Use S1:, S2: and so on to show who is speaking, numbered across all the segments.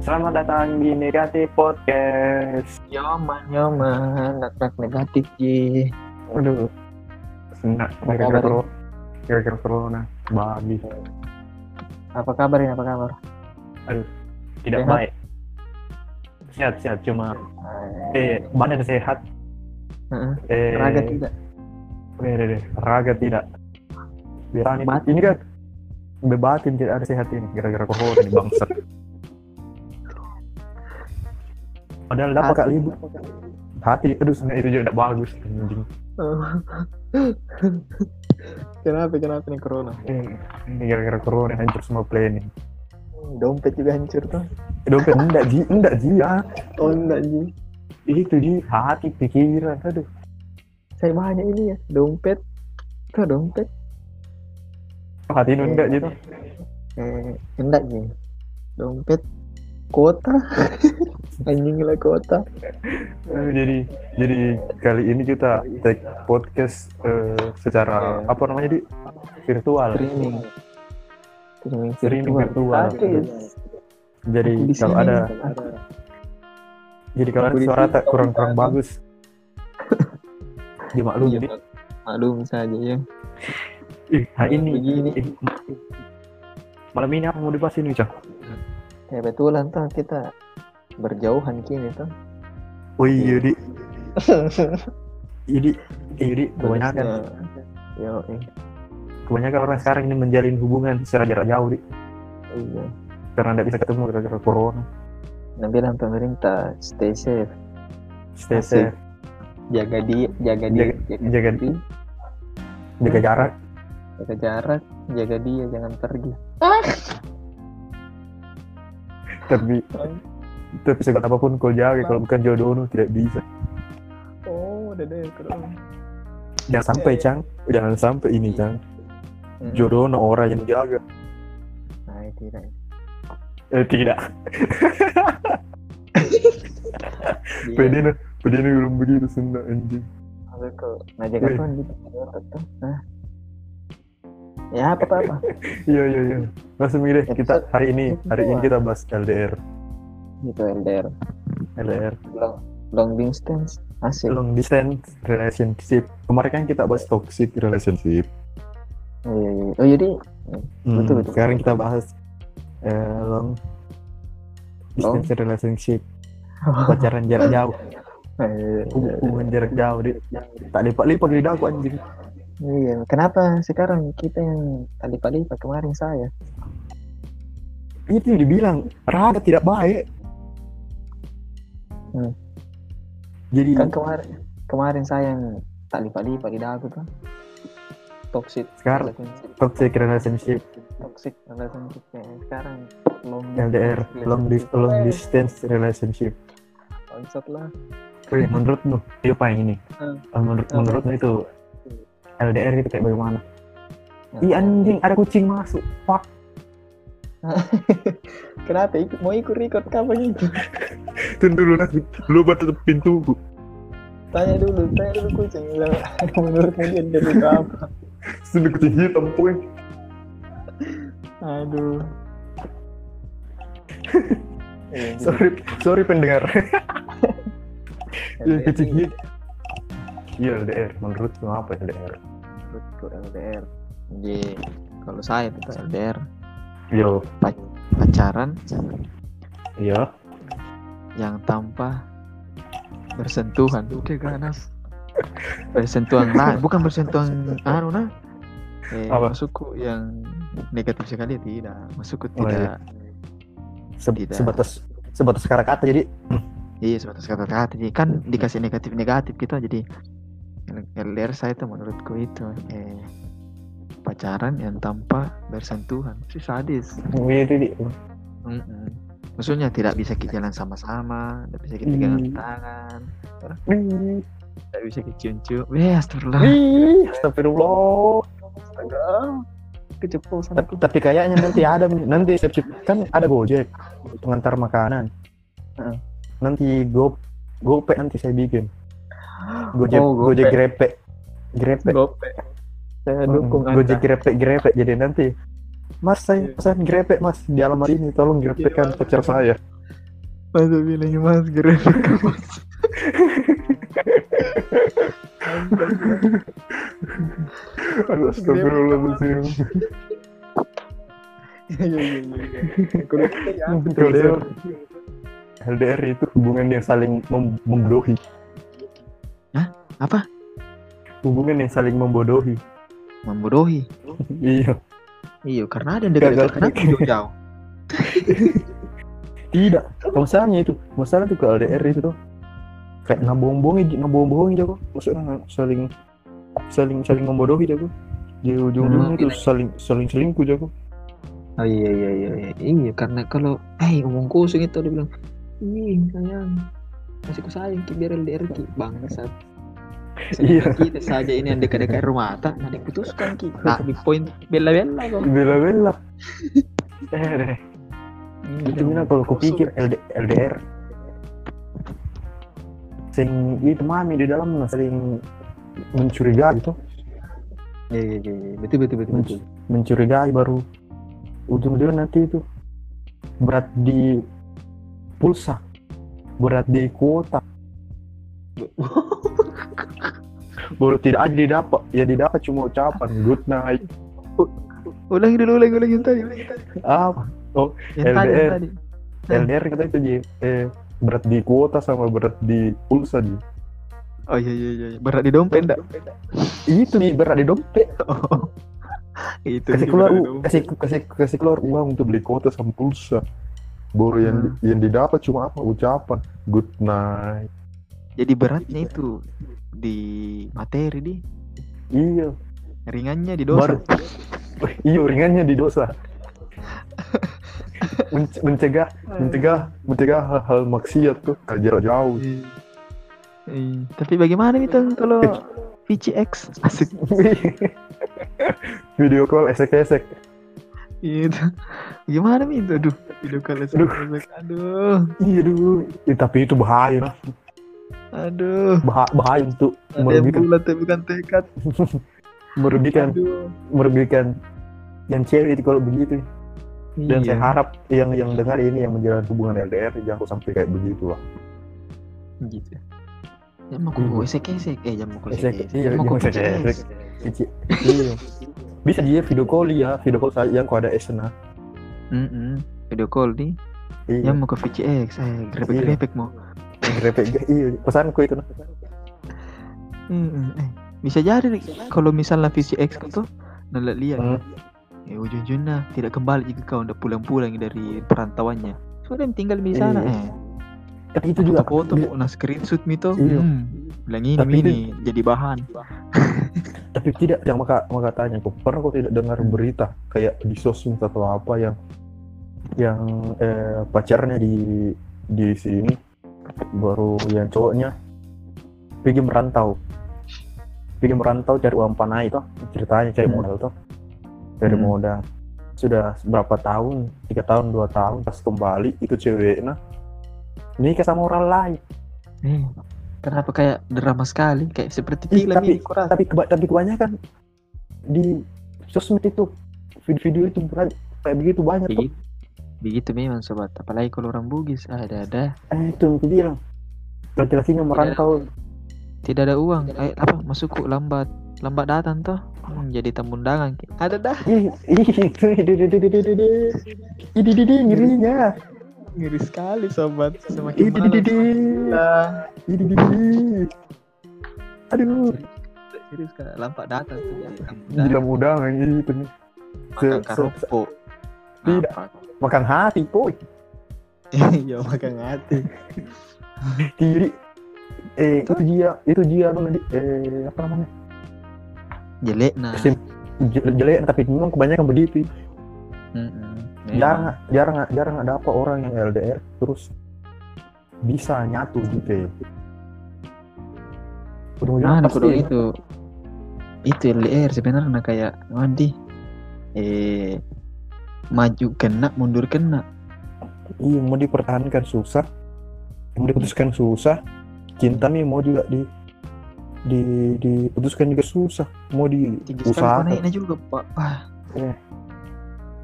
S1: Selamat datang di Negatif Podcast.
S2: Nyaman, nyaman, nak-nak negatif ji.
S1: Aduh. Enggak, gara-gara
S2: kabar
S1: corona. Gara-gara corona. Babi.
S2: Apa kabar ini? Apa kabar?
S1: Tidak
S2: Sehat?
S1: baik. Sehat-sehat cuma eh badan sehat.
S2: Heeh.
S1: Eh
S2: Raga tidak.
S1: eh, eh, eh, raga tidak. Berani.
S2: Batin.
S1: Ini kan bebatin tidak ada sehat ini gara-gara corona di bangsa. Padahal dapat kak
S2: Hati.
S1: libur. Hati, aduh, sebenarnya itu juga tidak bagus. Anjing.
S2: kenapa kenapa nih corona?
S1: Ini ini gara-gara corona hancur semua planning.
S2: Dompet juga hancur tuh.
S1: Dompet enggak ji, enggak ji ya.
S2: Oh enggak ji.
S1: Itu ji hati pikiran. Aduh,
S2: Saya banyak ini ya. Dompet. Tuh dompet.
S1: hati itu enggak gitu.
S2: Eh, enggak ji. Dompet. Kota. Anjing lah kota.
S1: Eh, Jadi jadi kali ini kita take podcast eh, secara apa namanya di virtual.
S2: Streaming. Streaming
S1: Streaming virtual.
S2: Sakit.
S1: Jadi
S2: Aku di
S1: kalau
S2: sini.
S1: ada jadi kalau
S2: Aku
S1: ada
S2: di
S1: suara
S2: sini,
S1: tak
S2: kamu
S1: kurang
S2: di
S1: kurang
S2: sana.
S1: bagus. Dimaklumi.
S2: Iya, maklum saja ya.
S1: Ih, hari ini
S2: Begini.
S1: ih, malam ini apa mau dibahas ini, Cah?
S2: Ya betulan tuh kita berjauhan kini tuh.
S1: Oh iya, Di. Jadi, jadi Iya, kebanyakan
S2: Iya. Yo, eh,
S1: kebanyakan orang sekarang ini menjalin hubungan secara jarak jauh Dik.
S2: iya.
S1: karena tidak bisa ketemu gara-gara corona
S2: Nah, bilang pemerintah stay safe,
S1: stay
S2: Asik.
S1: safe
S2: jaga di, jaga dia, jaga,
S1: jaga
S2: diri,
S1: jaga jarak
S2: jaga jarak, jaga dia jangan pergi.
S1: tapi tapi segala apapun kau jaga kalau bukan jodoh lu tidak bisa
S2: Oh, udah deh, Iya,
S1: jangan sampai cang jangan sampai ini cang
S2: Hmm.
S1: jodoh no orang yang jaga
S2: Nah, tidak.
S1: eh, tidak
S2: Dia-
S1: pede no pede no belum begitu sunda anjing
S2: Maksud kau, Nah, jaga
S1: Weh.
S2: tuh gitu. tuh. Nah. Ya, apa apa.
S1: iya iya iya langsung ini deh kita hari ini hari ini kita bahas LDR
S2: Gitu LDR.
S1: LDR
S2: Long, long distance. Asik.
S1: long distance relationship kemarin kan kita bahas toxic relationship
S2: Oh, iya, iya. oh jadi
S1: Hmm,
S2: Betul, betul.
S1: Sekarang kita bahas eh, long distance relationship, pacaran jarak jauh,
S2: Eh,
S1: hub- hubungan jarak jauh, Dik. tak lipat-lipat lidah aku anjing.
S2: Iya, kenapa sekarang kita yang lipat-lipat kemarin saya?
S1: Itu yang dibilang rada tidak baik.
S2: Hmm.
S1: Jadi
S2: Kan kemarin kemarin saya yang tak lipat-lipat lidah aku tuh. Toxic
S1: Sekarang-
S2: relationship,
S1: toxic relationship
S2: toxic relationship ya. Sekarang long
S1: LDR,
S2: distance
S1: long, dis-
S2: relationship.
S1: long
S2: Eh,
S1: distance relationship.
S2: bangsat lah.
S1: Wih, menurutmu apa yang ini?
S2: Hmm.
S1: Eh, Menurut
S2: Apa?
S1: menurutmu itu LDR itu kayak bagaimana?
S2: Nah,
S1: Ih anjing ada kucing masuk. Fuck.
S2: Kenapa ikut mau ikut record kapan itu?
S1: Tunggu dulu nanti. Lu tutup pintu.
S2: Tanya dulu, tanya dulu kucing bilang menurut dia dia butuh apa?
S1: Sudah kucing hitam poin.
S2: Aduh. Iya, gitu.
S1: sorry sorry pendengar yang
S2: LDR
S1: kecil
S2: ini
S1: gitu iya LDR menurut lu apa LDR
S2: menurutku LDR di kalau saya itu LDR
S1: yo
S2: pac- pacaran
S1: iya
S2: yang tanpa bersentuhan oke ganas bersentuhan nah bukan bersentuhan anu nah eh,
S1: Apa?
S2: maksudku yang negatif sekali tidak maksudku
S1: Oh,
S2: tidak
S1: Se-
S2: Tidak.
S1: sebatas sebatas kata kata jadi
S2: iya sebatas kata kata jadi kan dikasih negatif negatif gitu jadi LDR saya itu menurutku itu eh, pacaran yang tanpa bersentuhan sih sadis
S1: gitu di
S2: Mm-mm. Maksudnya tidak bisa kita jalan sama-sama, tidak bisa kita
S1: Hmm.
S2: pegangan tangan, tidak bisa kita cium-cium. Weh, astagfirullah.
S1: Ih, astagfirullah
S2: Kecepol sama
S1: tapi, tapi kayaknya nanti ada nanti siap siap kan ada gojek pengantar makanan
S2: Heeh.
S1: nanti go gope nanti saya bikin gojek
S2: Oh, Gopay.
S1: gojek grepe grepe
S2: Gope. Saya dukung
S1: Mm, Gojek grepek grepek jadi nanti. Mas saya
S2: Iya.
S1: pesan grepek mas di alamat ini tolong grepekkan
S2: Iya.
S1: pacar saya.
S2: Masa bilangnya masker efek kapas.
S1: Aduh, Astagfirullahaladzim.
S3: Iya iya iya. Kalau kita ya.
S1: LDR, LDR itu hubungan yang saling mem- membodohi.
S2: Apa?
S1: Hubungan yang saling membodohi.
S2: Membodohi.
S1: Iya.
S2: Iya, karena ada yang
S1: Gagal.
S2: dekat-dekat kenapa yang jauh.
S1: Tidak. Masalahnya itu, masalah itu ke LDR itu tuh kayak nabong-bongi, nabong-bongi jago. gitu, Maksudnya saling saling saling membodohi jago. Di ujung-ujungnya itu saling saling selingkuh gitu, jago.
S3: Oh iya iya iya iya. Iya karena kalau eh ngomong kosong itu dia bilang, "Ih, sayang. Masih ku sayang ki biar LDR ki bangsat."
S1: Iya.
S3: Sedangkan Kita saja ini yang dekat-dekat rumah tak nah diputuskan ki. Tak di poin bela-bela kok.
S1: Bela-bela. Eh, deh. itu
S3: Iya.
S1: mina kalau kupikir LD, LDR sing itu mami di dalam nah, sering mencurigai itu
S3: Iya iya iya. iya. Betul betul betul betul.
S1: mencurigai baru ujung-ujungnya nanti itu berat di pulsa berat di kuota baru tidak ada didapat ya didapat cuma ucapan good night
S2: Ulangi dulu, ulangi, ulangi yang tadi. ulangi yang tadi.
S1: apa
S2: Yang tadi, yang
S1: LDR.
S2: tadi.
S1: LDR kata itu Ji. eh berat di kuota sama berat di pulsa di
S2: Oh iya iya iya, berat di dompet enggak?
S1: itu nih berat di dompet
S2: Oh. Itu
S1: kasih
S2: dia,
S1: keluar
S2: berat di
S1: u- kasih kasih kasih keluar uang untuk beli kuota sama pulsa baru yang di-
S2: Hmm.
S1: yang didapat cuma apa ucapan good night
S2: Jadi beratnya itu di materi di
S1: iya
S2: ringannya di dosa.
S1: Baru- iya ringannya di dosa Men- mencegah mencegah mencegah hal-hal maksiat tuh ke jarak jauh
S2: Iya. Iya. Tapi bagaimana itu kalau VCX asik
S1: video call esek-esek
S2: itu Iya. gimana Mi, itu aduh video call
S1: Aduh.
S2: SMS. aduh
S1: iya dulu Ih, tapi itu bahaya nah.
S2: aduh
S1: Bah- bahaya untuk
S2: ada yang
S1: merugikan
S2: bulat tapi bukan tekad
S1: merugikan
S2: aduh
S1: merugikan yang cewek itu kalau begitu
S2: Iya,
S1: dan saya harap yang yang dengar ini yang menjalin hubungan LDR jangan sampai kayak begitu lah
S3: gitu.
S2: ya mau
S1: Iya.
S2: kau esek esek eh jangan mau kau esek esek
S1: Iya,
S2: Jangan mau kau
S1: jangan esek-esek.
S2: esek.
S1: Cici- iya. bisa dia video call ya video call saya kok ada esna
S2: Mm-mm. video call nih
S1: iya
S2: yang mau ke VCX eh grebek grebek mau
S1: Repek gak? iya pesanku itu nah.
S2: Mm-mm. eh bisa jadi Rik. kalau misalnya VCX kau tuh nolak lihat
S1: Hmm.
S2: Eh, ujung-ujungnya tidak kembali jika kau udah pulang-pulang dari perantauannya. Sudah tinggal di
S1: Iya.
S2: sana. Eh,
S1: tapi itu juga
S2: foto
S1: di-
S2: mau nah screenshot mito.
S1: Iya.
S2: Hmm. Bilang ini
S1: Tapi
S2: ini jadi bahan.
S1: tapi tidak yang maka maka tanya kok pernah kok tidak dengar berita kayak di sosmed atau apa yang yang eh, pacarnya di di sini baru yang cowoknya pergi merantau pergi merantau cari uang panai toh ceritanya cari
S2: Hmm.
S1: modal toh cari
S2: Hmm.
S1: modal sudah berapa tahun tiga tahun dua tahun pas kembali itu ceweknya nikah sama orang lain
S2: Eh, kenapa kayak drama sekali? Kayak seperti
S1: Ih,
S2: film
S1: tapi
S2: ini kurang.
S1: tapi keba- tapi kebanyakan di sosmed itu video-video itu berat kayak begitu banyak tuh.
S2: Begitu, begitu memang sobat. Apalagi kalau orang Bugis Ah, ada ada
S1: Eh, itu yang aku bilang laki-lakinya merantau
S2: tidak ada uang. Eh, apa masuk lambat lambat datang toh. Hmm, jadi tamu undangan. Ada dah
S1: ih ih itu ididididididi. idididi ngerinya
S2: ngeri sekali sobat. Semakin malam
S1: idididi idididi aduh
S2: serius kan lampak datang tuh jadi tamu undangan.
S1: gila mudah ini itu nih
S2: Nah. makan
S1: Se- se-
S2: kerupuk
S1: Tidak. makan hati boy
S2: ya makan hati
S1: kiri eh itu dia itu dia tuh nanti eh apa namanya
S2: jelek nah
S1: Kesim- je- jelek tapi memang kebanyakan begitu
S2: Mm-mm. Nah,
S1: jarang jarang jarang ada apa orang yang LDR terus bisa nyatu gitu ya
S2: nah
S1: ujung-ujungnya
S2: aku dong
S1: pasti
S2: nah,
S1: ya.
S2: itu itu LDR sebenarnya nah, kayak mandi eh maju kena mundur kena
S1: iya mau dipertahankan susah mau diputuskan susah cinta nih mau juga di di diputuskan juga susah mau
S2: tiga sekali kau
S1: diusahakan
S2: naiknya juga pak wah
S1: Iya.
S2: Ah.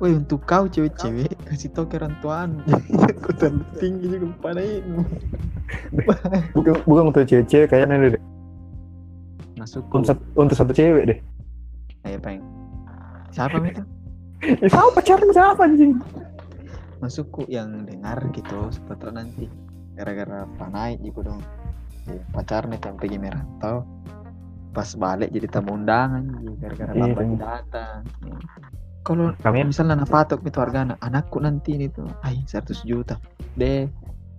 S2: Woi untuk kau cewek-cewek kasih tau ke orang tuamu. Kau terlalu tinggi juga panainmu.
S1: bukan bukan untuk cewek-cewek kayaknya deh
S2: Masuk
S1: untuk sat- untuk satu cewek deh
S2: Ayo peng. Siapa itu?
S1: tahu pacaran siapa anjing
S2: Masukku yang dengar gitu siapa tahu nanti gara-gara panai juga dong. Ya, pacar nih yang pergi merantau pas balik jadi tamu undangan gitu, gara-gara
S1: Iya,
S2: lambat
S1: iya.
S2: datang. Ya. Kalau
S1: kami
S2: misalnya anak patok itu harga anak anakku nanti ini tuh ay 100 juta deh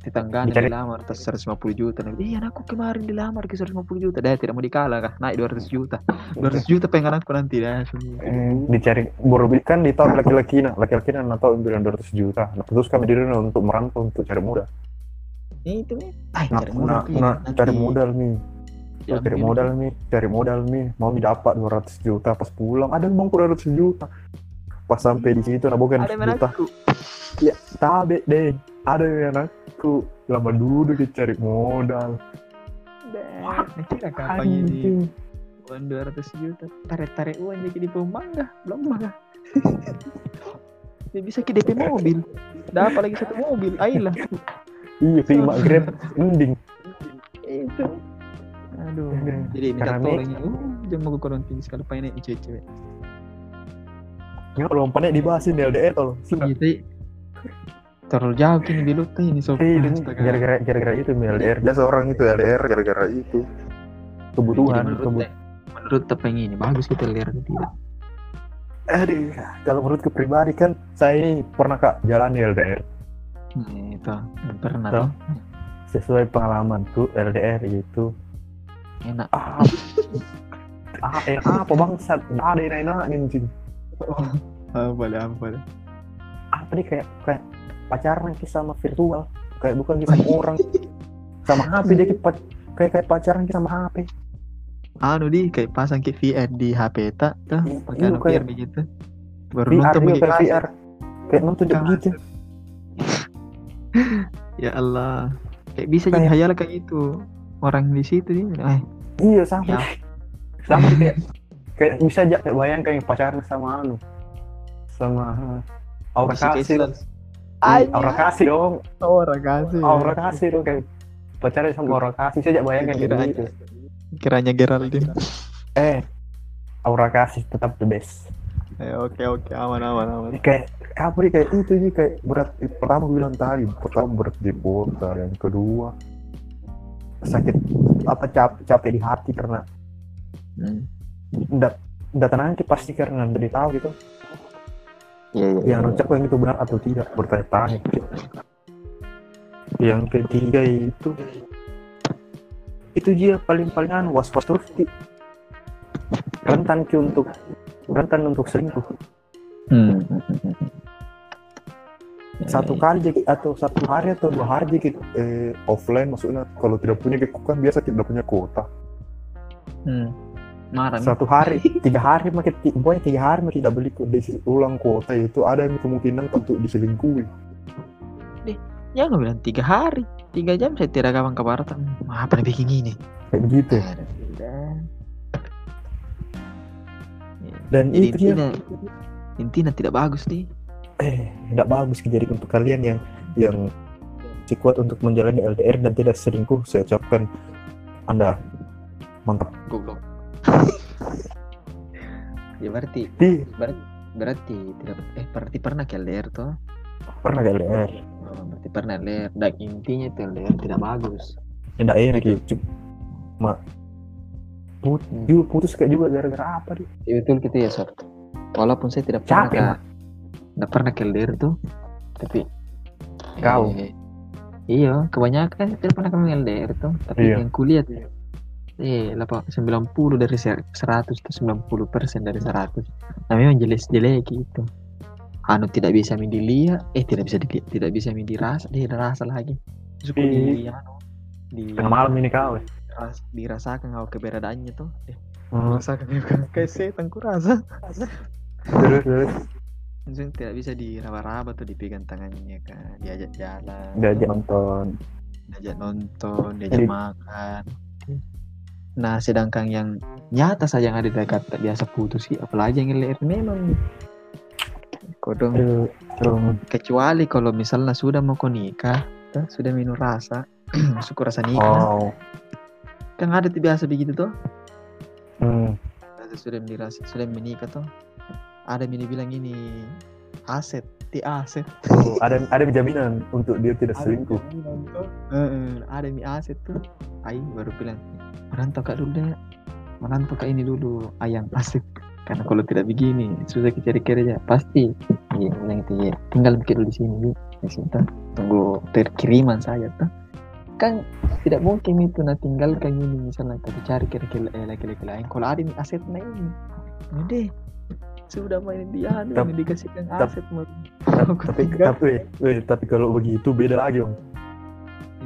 S2: tetangga
S1: Dicari-
S2: dilamar atas 150 juta Dia bilang, iya anakku kemarin dilamar ke 150 juta deh tidak mau dikalah kah naik 200 juta 200 juta pengen anakku nanti deh
S1: Iya.
S2: Hmm.
S1: dicari baru beli- kan di tahun laki-laki nah laki-laki nah tahu bilang 200 juta nah terus kami diri nah, untuk merantau untuk cari modal
S2: ya itu nih ay
S1: nah,
S2: cari modal Ya,
S1: nah,
S2: Pi.
S1: nah,
S2: Nanti
S1: cari modal nih
S2: diambil.
S1: cari modal nih cari modal nih mau mi dapat 200 juta pas pulang ada bang 200 juta pas sampai di situ nah bukan
S2: ada
S1: 100
S2: yang
S1: juta Ya,
S2: anakku
S1: tabe deh ada yang anakku lama duduk dia cari modal
S2: Nah, kira kapan jadi
S1: anjing
S2: uang 200 juta tarik-tarik uang jadi di pemangga belum mah dia bisa ke DP mobil dapat lagi satu mobil ayolah
S1: iya terima grab mending
S2: itu aduh
S1: Aduh.
S2: jadi minta
S1: Karena
S2: tolong ya uh jangan mau koron tinggi sekali pengen naik cewek-cewek
S1: ya lompannya dibahasin di LDR tolong sudah
S2: gitu terlalu jauh kini di lutut Eh, ini sob
S1: Iya, dan
S2: Astaga.
S1: gara-gara gara-gara itu Mi, LDR dia seorang Iya, itu LDR gara-gara itu kebutuhan
S3: Jadi menurut
S1: kebutuhan
S3: teh, menurut tepeng ini bagus gitu liar tidak
S1: aduh kalau menurut ke pribadi kan saya ini pernah kak jalan di LDR
S2: Hmm, itu Belum pernah
S1: Tuh.
S2: tuh
S1: sesuai pengalamanku LDR itu
S2: enak
S1: ah ah eh, apa bangsat ada yang enak anjing
S2: apa lah apa lah
S1: apa nih Ah, kayak kayak pacaran kita sama virtual kayak bukan kita sama orang sama HP dia kayak pac- kayak kayak pacaran kita sama HP
S2: anu di kayak pasang ke VR di HP tak tuh pakai
S1: Iya,
S2: anu
S1: kayak
S2: VR gitu baru
S1: VR
S2: nonton
S1: juga
S2: pakai
S1: kayak
S2: kaset.
S1: VR kayak nonton juga
S2: Kaset.
S1: gitu
S2: ya Allah kayak bisa jadi
S1: Kayak-
S2: hayal kayak gitu orang di situ nih eh
S1: iya sama
S2: Ya.
S1: sama kayak kayak bisa aja kayak bayangkan yang pacaran sama anu sama eh, aura
S2: bisa kayak
S1: kasih
S2: sales.
S1: Ih, aura
S2: Aura
S1: kasih dong
S2: Orang kasih.
S1: aura kasih dong kayak pacaran sama aura kasih saja bayangkan kayak
S2: Kira-
S1: gitu
S2: Kiranya Geraldine.
S1: eh aura kasih tetap the best
S2: Eh, oke oke aman aman aman.
S1: kayak apa nih kayak itu sih kayak berat pertama gue bilang tadi pertama berat di kota yang kedua sakit apa capek capek di hati karena
S2: Hmm.
S1: ndak ndak tenang sih pasti karena dari tahu gitu
S2: Iya iya.
S1: yang ngecek yang itu benar atau tidak bertanya-tanya yang ketiga itu itu dia paling paling anu was was terus Ki. rentan Ki, untuk rentan untuk selingkuh
S2: Hmm. Ya,
S1: satu kali jadi atau satu hari atau dua hari jadi eh, offline maksudnya kalau tidak punya gitu kan biasa tidak punya kuota
S2: Hmm. Marah. nih.
S1: satu hari tiga hari makin ti- pokoknya tiga hari makin tidak beli ku- diisi ulang kuota itu ada yang kemungkinan untuk diselingkuhi
S2: Ya nggak bilang tiga hari, tiga jam saya tidak kapan kabar Hmm, Apa nih bikin ini?
S1: kayak gitu. begitu dan itu dia
S2: Intinya, intinya tidak bagus nih.
S1: eh tidak bagus jadi untuk kalian yang yang masih kuat untuk menjalani LDR dan tidak selingkuh saya ucapkan anda mantap
S2: Goblok. ya berarti
S1: di
S2: berarti berarti tidak eh berarti pernah ke LDR tuh
S1: pernah gak LDR
S2: Oh, berarti pernah LDR dan intinya itu LDR tidak bagus
S1: tidak enak gitu cuma put, juga putus kayak juga gara-gara apa deh
S2: Ya, betul gitu ya sob walaupun saya tidak pernah
S1: Capek, Mak.
S2: ke- tidak pernah ke LDR tuh tapi
S1: Kau.
S2: Eh, iya kebanyakan tidak pernah kami LDR tuh tapi
S1: Iya.
S2: yang kuliah tuh eh lapa- 90 dari ser- 100 tuh 90 persen dari 100 nah memang jelas jelek gitu anu tidak bisa mi dilihat eh tidak bisa dilihat tidak bisa mi dirasa eh, dirasa lagi suku
S1: Iya.
S2: di anu di
S1: tengah malam ini kau ya
S2: ras- dirasakan kau keberadaannya tuh eh,
S1: Hmm,
S2: rasakan kayak setan ku rasa
S1: terus terus
S2: Maksudnya tidak bisa diraba-raba tuh dipegang tangannya kan diajak jalan
S1: diajak nonton
S2: diajak nonton diajak
S1: Jadi-
S2: makan nah sedangkan yang nyata saja yang ada di dekat tak biasa putus sih apalagi yang LDR memang kodong
S1: Eh, em,
S2: kecuali kalau misalnya sudah mau kau nikah tuh, sudah minum rasa masuk rasa nikah
S1: oh,
S2: kan ada tuh biasa begitu tuh
S1: hmm,
S2: Rasa sudah dirasa sudah menikah tuh ada yang bilang ini aset ti aset
S1: oh, ada ada jaminan untuk dia tidak
S2: Ada yang
S1: selingkuh.
S2: bilang tuh, "Heeh, ada yang aset tuh Aing baru bilang merantau kak dulu deh merantau kak ini dulu ayam asik karena kalau tidak begini susah kita cari kerja pasti iya bilang itu iya tinggal mikir dulu di sini Bi." di sini tuh. tunggu terkiriman saja tuh kan tidak mungkin itu nah tinggalkan ini misalnya kita cari kira-kira eh, laki-laki lain kalau ada yang aset nah ini ini deh sudah main dia anu
S1: Tap-
S2: ini dikasihkan
S1: tap-
S2: aset mau
S1: Tapi tapi, eh, tapi kalau begitu beda lagi om.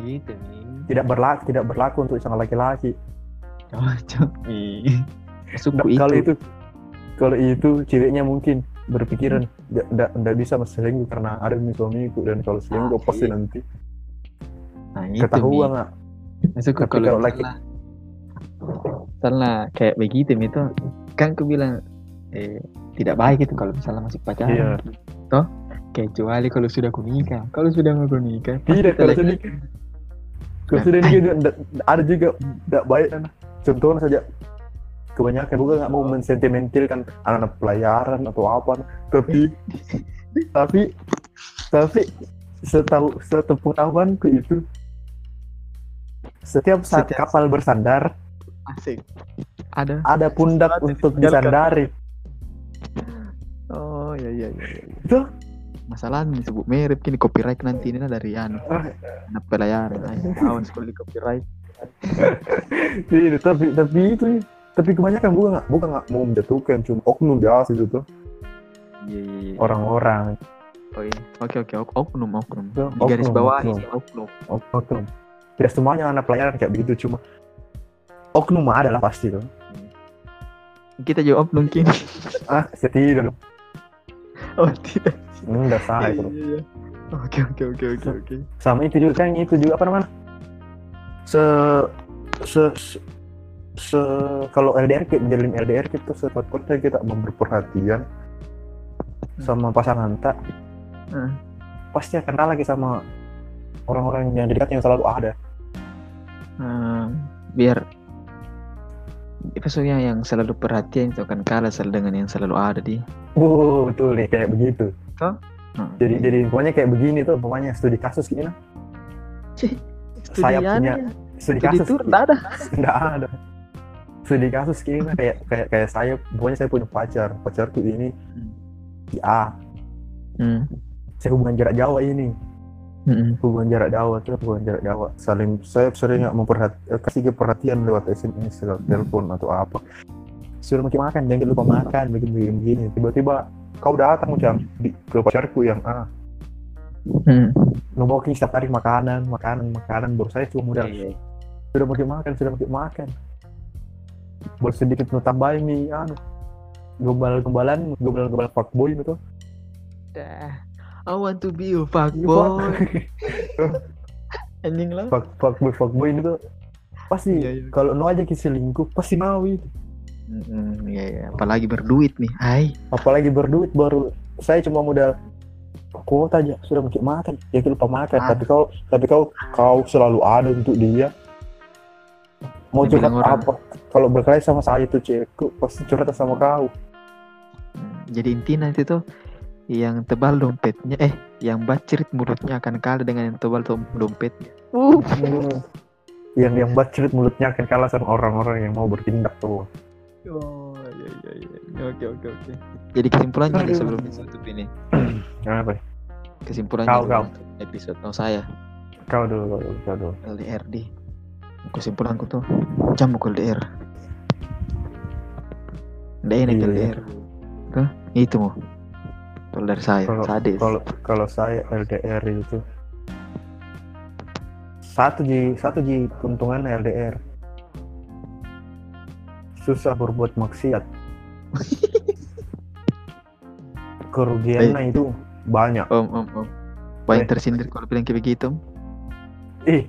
S2: gitu nih
S1: Tidak berlaku tidak berlaku untuk sang laki-laki.
S2: cocok nih
S1: Nah,
S2: suku itu,
S1: Kalau itu kalau itu ceweknya mungkin berpikiran tidak bisa mas selingkuh karena ada yang suamiku dan kalau selingkuh
S2: Hmm. Ah,
S1: pasti
S2: iya.
S1: nanti
S2: nah, itu
S1: ketahuan lah.
S2: masuk
S1: Tapi
S2: kalau
S1: kalau laki-
S2: salah salah kayak begitu Mi, itu kan aku bilang eh, tidak baik itu kalau misalnya masih pacaran
S1: Iya.
S2: toh kecuali kalau sudah aku nikah kalau sudah mau aku nikah
S1: Tidak kalau
S2: lagi-
S1: sudah nikah.
S2: Nah.
S1: Kalau sudah nikah juga ndak- ndak- ada juga tidak baik kan. Contohnya saja kebanyakan juga nggak mau mensentimentalkan anak-anak pelayaran atau apa tapi tapi tapi setahu sepengetahuanku itu setiap saat
S2: Setiap-
S1: kapal bersandar
S2: asik ada
S1: ada pundak
S2: Saat
S1: untuk
S2: ditinggalkan.
S1: disandari.
S2: oh ya ya ya
S1: Itu?
S2: masalah disebut merek ini copyright nanti ini lah dari anu anak pelayaran Ayo, tahun sekali copyright
S1: Iya, tapi tapi itu ya. tapi kebanyakan bukan nggak bukan nggak mau menjatuhkan cuma oknum biasa itu tuh
S2: iya iya iya
S1: orang-orang
S2: Oh iya. Oke oke ok- oknum oknum.
S1: Itu
S2: Di garis
S1: Ya, oknum,
S2: bawah
S1: oknum.
S2: ini oknum.
S1: ok- oknum tidak semuanya anak pelayaran kayak begitu cuma oknum mah ada lah pasti tuh
S2: Kita jawab mungkin.
S1: ah saya tidur
S2: oh tidak.
S1: ini udah salah
S2: Iya,
S1: itu
S2: iya, iya. Oke oke oke oke
S1: Ya.
S2: oke.
S1: sama itu juga kan itu juga apa namanya se se se, se- kalau LDR kita menjalin LDR kita gitu, sekuat kuatnya kita memberi perhatian sama pasangan tak
S2: Hmm.
S1: pasti akan kalah lagi sama orang-orang yang di dekat yang selalu ada
S2: Hmm, biar episode yang selalu perhatian itu akan kalah sel- dengan yang selalu ada di.
S1: Wuh, betul nih kayak begitu.
S2: Hmm.
S1: Jadi jadi pokoknya kayak begini tuh pokoknya studi kasus gini nah.
S2: Cih,
S1: saya punya
S2: studi
S1: studi
S2: kasus
S1: kasus.
S2: itu enggak ada.
S1: Enggak ada. Studi kasus gini nah, kayak kayak kayak saya pokoknya saya punya pacar. Pacarku ini
S2: Hmm.
S1: si A.
S2: Hmm.
S1: Saya hubungan jarak jauh ini.
S2: Mm-mm.
S1: Hubungan jarak jauh terus hubungan jarak jauh. Saling saya sering nggak memperhati eh, kasih dia perhatian lewat SMS lewat telepon atau apa. Suruh makin makan, jangan lupa makan, begini begini, begini. Tiba-tiba kau datang macam di- ke pacarku yang A.
S2: Hmm.
S1: ngemoki setiap hari makanan, makanan, makanan. Baru saya cuma modal
S2: Iya, iya.
S1: sudah makin makan, sudah makin makan. Baru sedikit nu tambahin nih, anu gombal-gombalan, gombal-gombal fuckboy itu.
S2: Dah. I want to be a fuckboy.
S1: Fuck,
S2: Anjing lah.
S1: Iya, fuck, fuckboy, fuckboy itu pasti
S2: Iya, iya.
S1: kalau nu aja selingkuh pasti mau itu.
S2: Mm-mm, Iya iya. Apalagi berduit nih. Hai.
S1: Apalagi berduit baru saya cuma modal kuota aja sudah makin makan ya kita lupa makan
S2: Ah.
S1: tapi kau tapi kau kau selalu ada untuk dia mau curhat
S2: Dibilang orang.
S1: apa kalau berkelahi sama saya tuh cewekku pasti curhat sama kau
S2: Hmm, Jadi intinya itu tuh yang tebal dompetnya eh yang bacrit mulutnya akan kalah dengan yang tebal dom- dompetnya. Uh.
S1: Hmm. yang yang bacrit mulutnya akan kalah sama orang-orang yang mau bertindak tuh
S2: Oh, iya, iya, iya. Oke, oke, oke. Jadi kesimpulannya
S1: Aduh.
S2: nih sebelum ditutup ini.
S1: kenapa
S2: Kesimpulannya
S1: Kau,
S2: dulu episode oh, saya
S1: kau dulu kau dulu, kau dulu
S2: LDRD. Kesimpulanku tuh jam mukul LDR. Nggak enak
S1: Iya, iya.
S2: LDR. Tuh, itu mau. Kalau dari saya,
S1: Kalau-
S2: sadis.
S1: kalau kalau saya LDR itu satu ji satu ji keuntungan LDR susah berbuat maksiat kerugiannya itu banyak
S2: Om, om, om. Banyak tersindir kalau bilang kayak begitu. Om.
S1: ih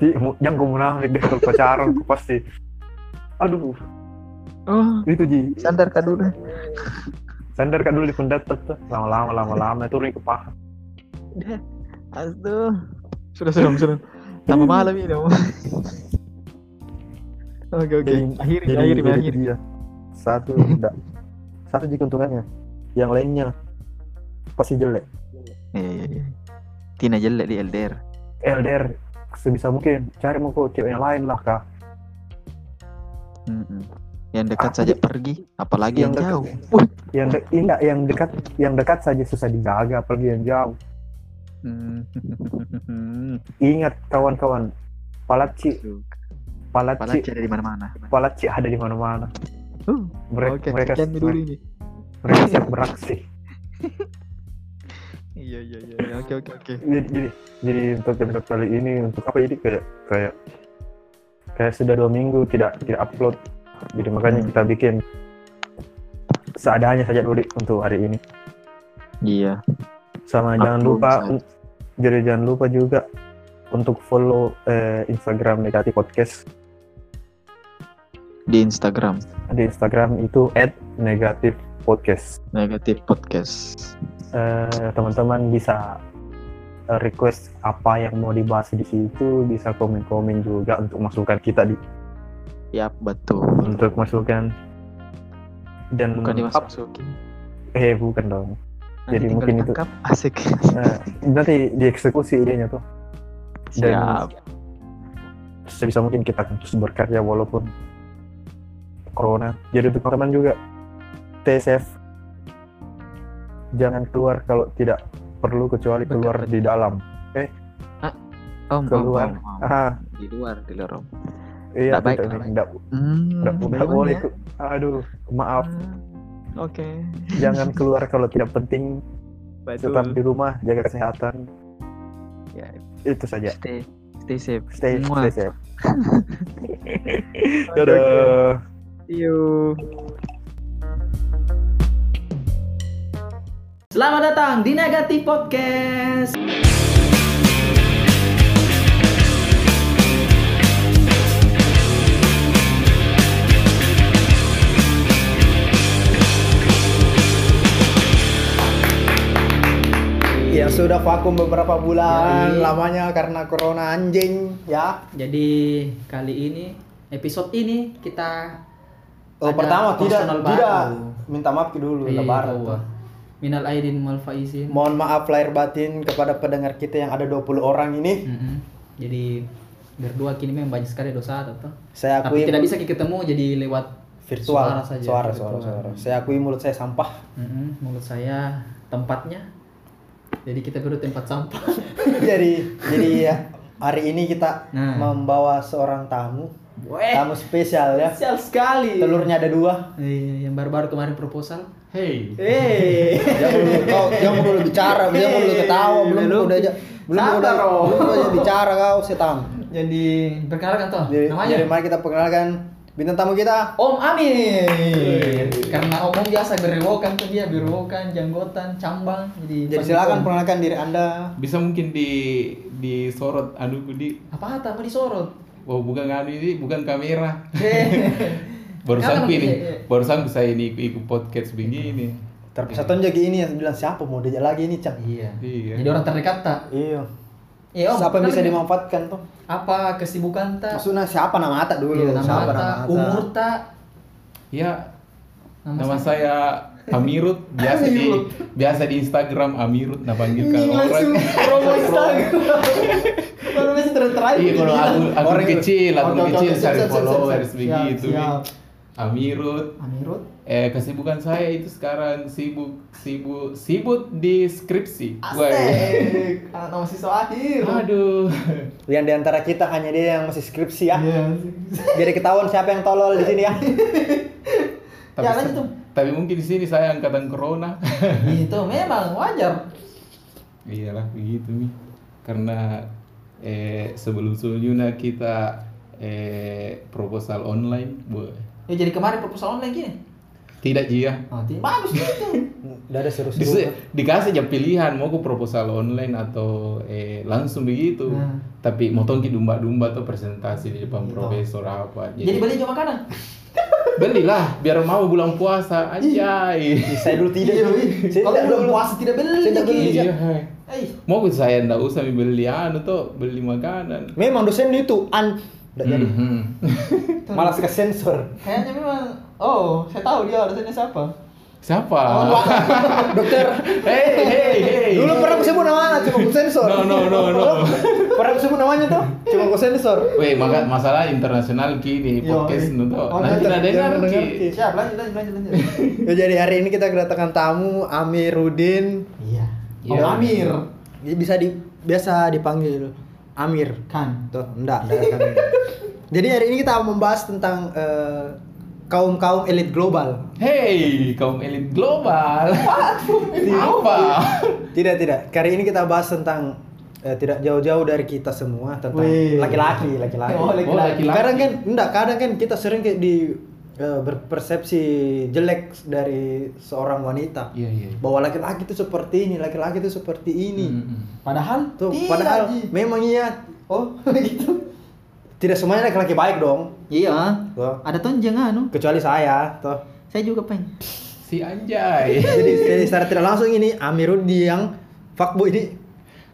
S1: di mu- yang gue munafik deh kalau pacaran gue pasti aduh
S2: Oh,
S1: itu ji
S2: sadar kak dulu.
S1: Standar kan dulu di pendatang tuh. Lama-lama, lama-lama itu Rui kepaham.
S3: Aduh. Sudah sudah sudah. Tambah malam ini dong. Oke oke.
S1: Jadi-
S3: Akhiri
S1: Jadi,
S3: akhiri
S1: jadi
S3: akhiri.
S1: itu dia. Satu, enggak. Satu aja keuntungannya. Yang lainnya pasti jelek.
S3: Iya iya iya. Tina jelek di LDR.
S1: LDR sebisa mungkin cari mau kok cewek yang lain lah kak.
S3: Mm-mm. Yang dekat
S1: Apa
S3: saja
S1: sih?
S3: pergi, apalagi yang,
S1: Yang dekat.
S3: jauh.
S1: Yang de- iya, enggak, yang dekat yang dekat saja susah dijaga apalagi yang jauh.
S3: Mm. Hmm.
S1: Ingat kawan-kawan, palaci,
S3: Apalagi
S1: palaci,
S3: ada di mana-mana.
S1: palaci ada di mana-mana.
S3: Uh,
S1: Mereka
S3: Oke,
S1: mereka,
S3: sekian dulu
S1: mereka,
S3: ini.
S1: siap beraksi.
S3: Iya iya iya. iya. Oke oke oke.
S1: Jadi, jadi, jadi untuk episode kali ini untuk apa jadi kayak kayak kayak sudah dua minggu tidak tidak upload. Jadi makanya kita bikin seadanya saja dulu Dik, untuk hari ini.
S3: Iya.
S1: sama jangan
S3: Maklum
S1: lupa
S3: saja.
S1: jadi jangan lupa juga untuk follow eh, Instagram Negati Podcast
S3: Di Instagram
S1: di Instagram itu @negatifpodcast
S3: negatif podcast.
S1: Eh, teman-teman bisa eh, request apa yang mau dibahas di situ bisa komen-komen juga untuk masukan kita di
S3: Yap, betul.
S1: untuk masukan dan
S3: Bukan
S1: Ap-
S3: dimasukin.
S1: eh bukan dong Hmm. Jadi
S3: tinggal
S1: mungkin itu-
S3: ditangkap. asik.
S1: Eh, nanti dieksekusi idenya tuh Dan-
S3: Siap.
S1: sebisa mungkin kita akan terus berkarya walaupun corona. Jadi untuk teman-teman juga stay safe. Jangan keluar kalau tidak perlu kecuali
S3: Betul,
S1: keluar
S3: betul.
S1: di dalam.
S3: Om, om,
S1: keluar.
S3: om, om.
S1: Ah,
S3: Di luar, di luar om.
S1: iya
S3: Nggak baik,
S1: tidak,
S3: nggak
S1: tidak,
S3: Hmm,
S1: tidak- tidak
S3: belum
S1: boleh.
S3: ya?
S1: ke- Aduh, maaf.
S3: Hmm, Oke.
S1: Jangan keluar kalau tidak penting.
S3: Betul.
S1: Tetap di rumah, jaga kesehatan.
S3: Ya.
S1: Itu saja.
S3: Stay, stay safe.
S1: Stay,
S3: Muah.
S1: stay safe.
S3: Oke, oke.
S1: Dadah.
S3: See you.
S4: Selamat datang di Negatif Podcast.
S5: Ya sudah vakum beberapa bulan lamanya karena corona anjing ya.
S4: Jadi kali ini episode ini kita
S5: Oh
S4: Ada
S5: pertama tidak
S4: personal
S5: tidak
S4: baru.
S5: minta maaf dulu lebaran.
S4: Iya, Minal Aidin wal Faizin.
S5: Mohon maaf lahir batin kepada pendengar kita yang ada 20 orang ini.
S4: Mm-mm. Jadi berdua kini memang banyak sekali dosa atau
S5: Saya
S4: tapi
S5: akui
S4: tidak bisa ketemu jadi lewat
S5: virtual
S4: suara saja,
S5: suara
S4: virtual.
S5: suara, suara. Saya akui mulut saya sampah.
S4: Mm-mm. menurut saya tempatnya. Jadi kita perlu tempat sampah.
S5: jadi jadi ya, hari ini kita
S4: Nah.
S5: membawa seorang tamu
S4: Weh,
S5: tamu spesial ya.
S4: spesial sekali.
S5: Telurnya ada dua.
S4: Iya, yang baru-baru kemarin proposal.
S6: Hey,
S4: Hey.
S5: Jangan dulu kau, jangan dulu bicara, jangan dulu ketawa, belum
S4: Belum.
S5: udah aja, belum
S4: Sabar,
S5: udah,
S4: Ro.
S5: belum udah bicara kau setan.
S4: Jadi perkenalkan toh
S5: Jadi,
S4: namanya
S5: jadi mari kita perkenalkan bintang tamu kita.
S4: Om Amin. Karena Om Om biasa berewokan tuh dia berewokan, janggotan, cambang. Jadi,
S5: Jadi silakan perkenalkan diri anda.
S6: bisa mungkin di disorot anu ku di
S4: Apa tak mau disorot?
S6: oh bukan anu ini bukan kamera.
S4: Hehehe. Kalau
S6: Barusan ku
S4: iya,
S6: ini,
S4: iya.
S6: barusan ku saya ini ikut podcast begini.
S5: Terpisah jadi ini yang bilang siapa mau diajak lagi ini cang.
S4: iya.
S6: Iya.
S4: Jadi orang terdekat tak?
S5: Iya.
S4: Iya, Om.
S5: siapa yang bisa
S4: kenalin.
S5: dimanfaatkan tuh?
S4: Apa kesibukan tak?
S5: Maksudnya siapa nama Ata dulu?
S4: Iya, nama
S5: siapa
S4: tak? Umur tak?
S6: Ya,
S4: Nama
S6: nama saya Amirut biasa di biasa di Instagram Amirut nah panggil kalau orang.
S4: promo Instagram. Baru masih terakhir.
S6: Iya kalau aku aku
S5: Orang itu.
S6: kecil, aku
S5: Oke, oke,
S6: kecil
S5: oke,
S6: cari gitu.
S5: siap, siap, siap,
S6: followers
S5: siap.
S6: begitu.
S5: Siap, siap.
S6: Amirut
S4: Amirut.
S6: Eh, kesibukan saya itu sekarang sibuk sibuk sibuk di skripsi. Wah.
S4: Asik. Anak nama siswa akhir.
S6: Aduh.
S5: Yang diantara kita hanya dia yang masih skripsi ya. Jadi ketahuan siapa yang tolol di sini ya.
S6: Tapi,
S4: Ya, lanjut, Om.
S6: tapi mungkin di sini saya angkatan corona.
S4: Itu memang wajar.
S6: Iyalah begitu Mi. Karena eh, sebelum sebelumnya kita eh, proposal online, bu,
S4: Ya jadi kemarin proposal online gini.
S6: tidak ya. jia.
S4: Oh, tidak. Bagus gitu.
S5: Udah ada seru
S6: Dis-
S5: seru.
S6: dikasih aja pilihan mau ke proposal online atau eh, langsung begitu.
S4: Nah. Iya,
S6: Tapi mau tongki domba-domba atau presentasi di depan profesor apa.
S4: jadi beli juga makanan.
S6: Belilah biar mau bulan puasa anjay.
S5: Saya dulu tidak.
S4: Iya, Wi.
S5: Saya
S4: Kalau
S5: tidak
S4: belum
S5: dulu.
S4: puasa tidak beli.
S5: Saya tidak beli.
S4: Ki.
S6: Iya. hai.
S4: Eh,
S6: Mau saya ndak usah beli anu tuh, beli makanan.
S5: Memang dosen itu an Nggak jadi.
S6: Mhm.
S5: Malas ke sensor.
S4: Kayaknya memang oh, saya tahu dia alasannya siapa.
S6: Siapa?
S5: Oh, Dokter.
S6: Hey, hey, hey.
S5: Dulu pernah aku sebut namanya cuma aku sensor.
S6: No, no, no, no.
S5: pernah aku sebut namanya tuh cuma aku sensor.
S6: Weh, maka masalah internasional kini
S4: Yo,
S6: podcast
S4: eh.
S6: nu tuh.
S4: Oh,
S6: Nanti
S5: nanti
S6: ada dengar
S5: jangan dengar,
S6: ki.
S5: Ki.
S4: Siap, lanjut lanjut lanjut lanjut.
S5: Ya, jadi hari ini kita kedatangan tamu Amir Rudin.
S4: Iya. Om
S6: Iya.
S4: Amir
S5: Dia bisa di biasa dipanggil Amir.
S4: kan.
S5: Tuh, enggak, enggak kami. Jadi hari ini kita membahas tentang eh, kaum-kaum elit global.
S6: Hey, kaum elit global. Apa?
S5: Tidak, tidak. Kali ini kita bahas tentang eh, tidak jauh-jauh dari kita semua tentang
S4: Wih.
S5: laki-laki, laki-laki.
S4: Oh, laki-laki.
S5: Kadang kan enggak, kadang kan kita sering kayak di eh, berpersepsi jelek dari seorang wanita.
S6: Iya, iya.
S5: Bahwa laki-laki itu seperti ini, laki-laki itu seperti ini.
S6: Mm-mm.
S4: Padahal
S5: Tuh,
S4: tidak,
S5: padahal
S4: Iya, Ji.
S5: memang iya
S4: oh gitu.
S5: tidak semuanya laki-laki baik dong.
S3: Iya.
S5: Tuh.
S3: Ada tonjeng anu.
S5: Kecuali saya, tuh.
S3: Saya juga peng.
S6: Si anjay.
S5: Jadi jadi secara tidak langsung ini Amirudi yang fuckboy ini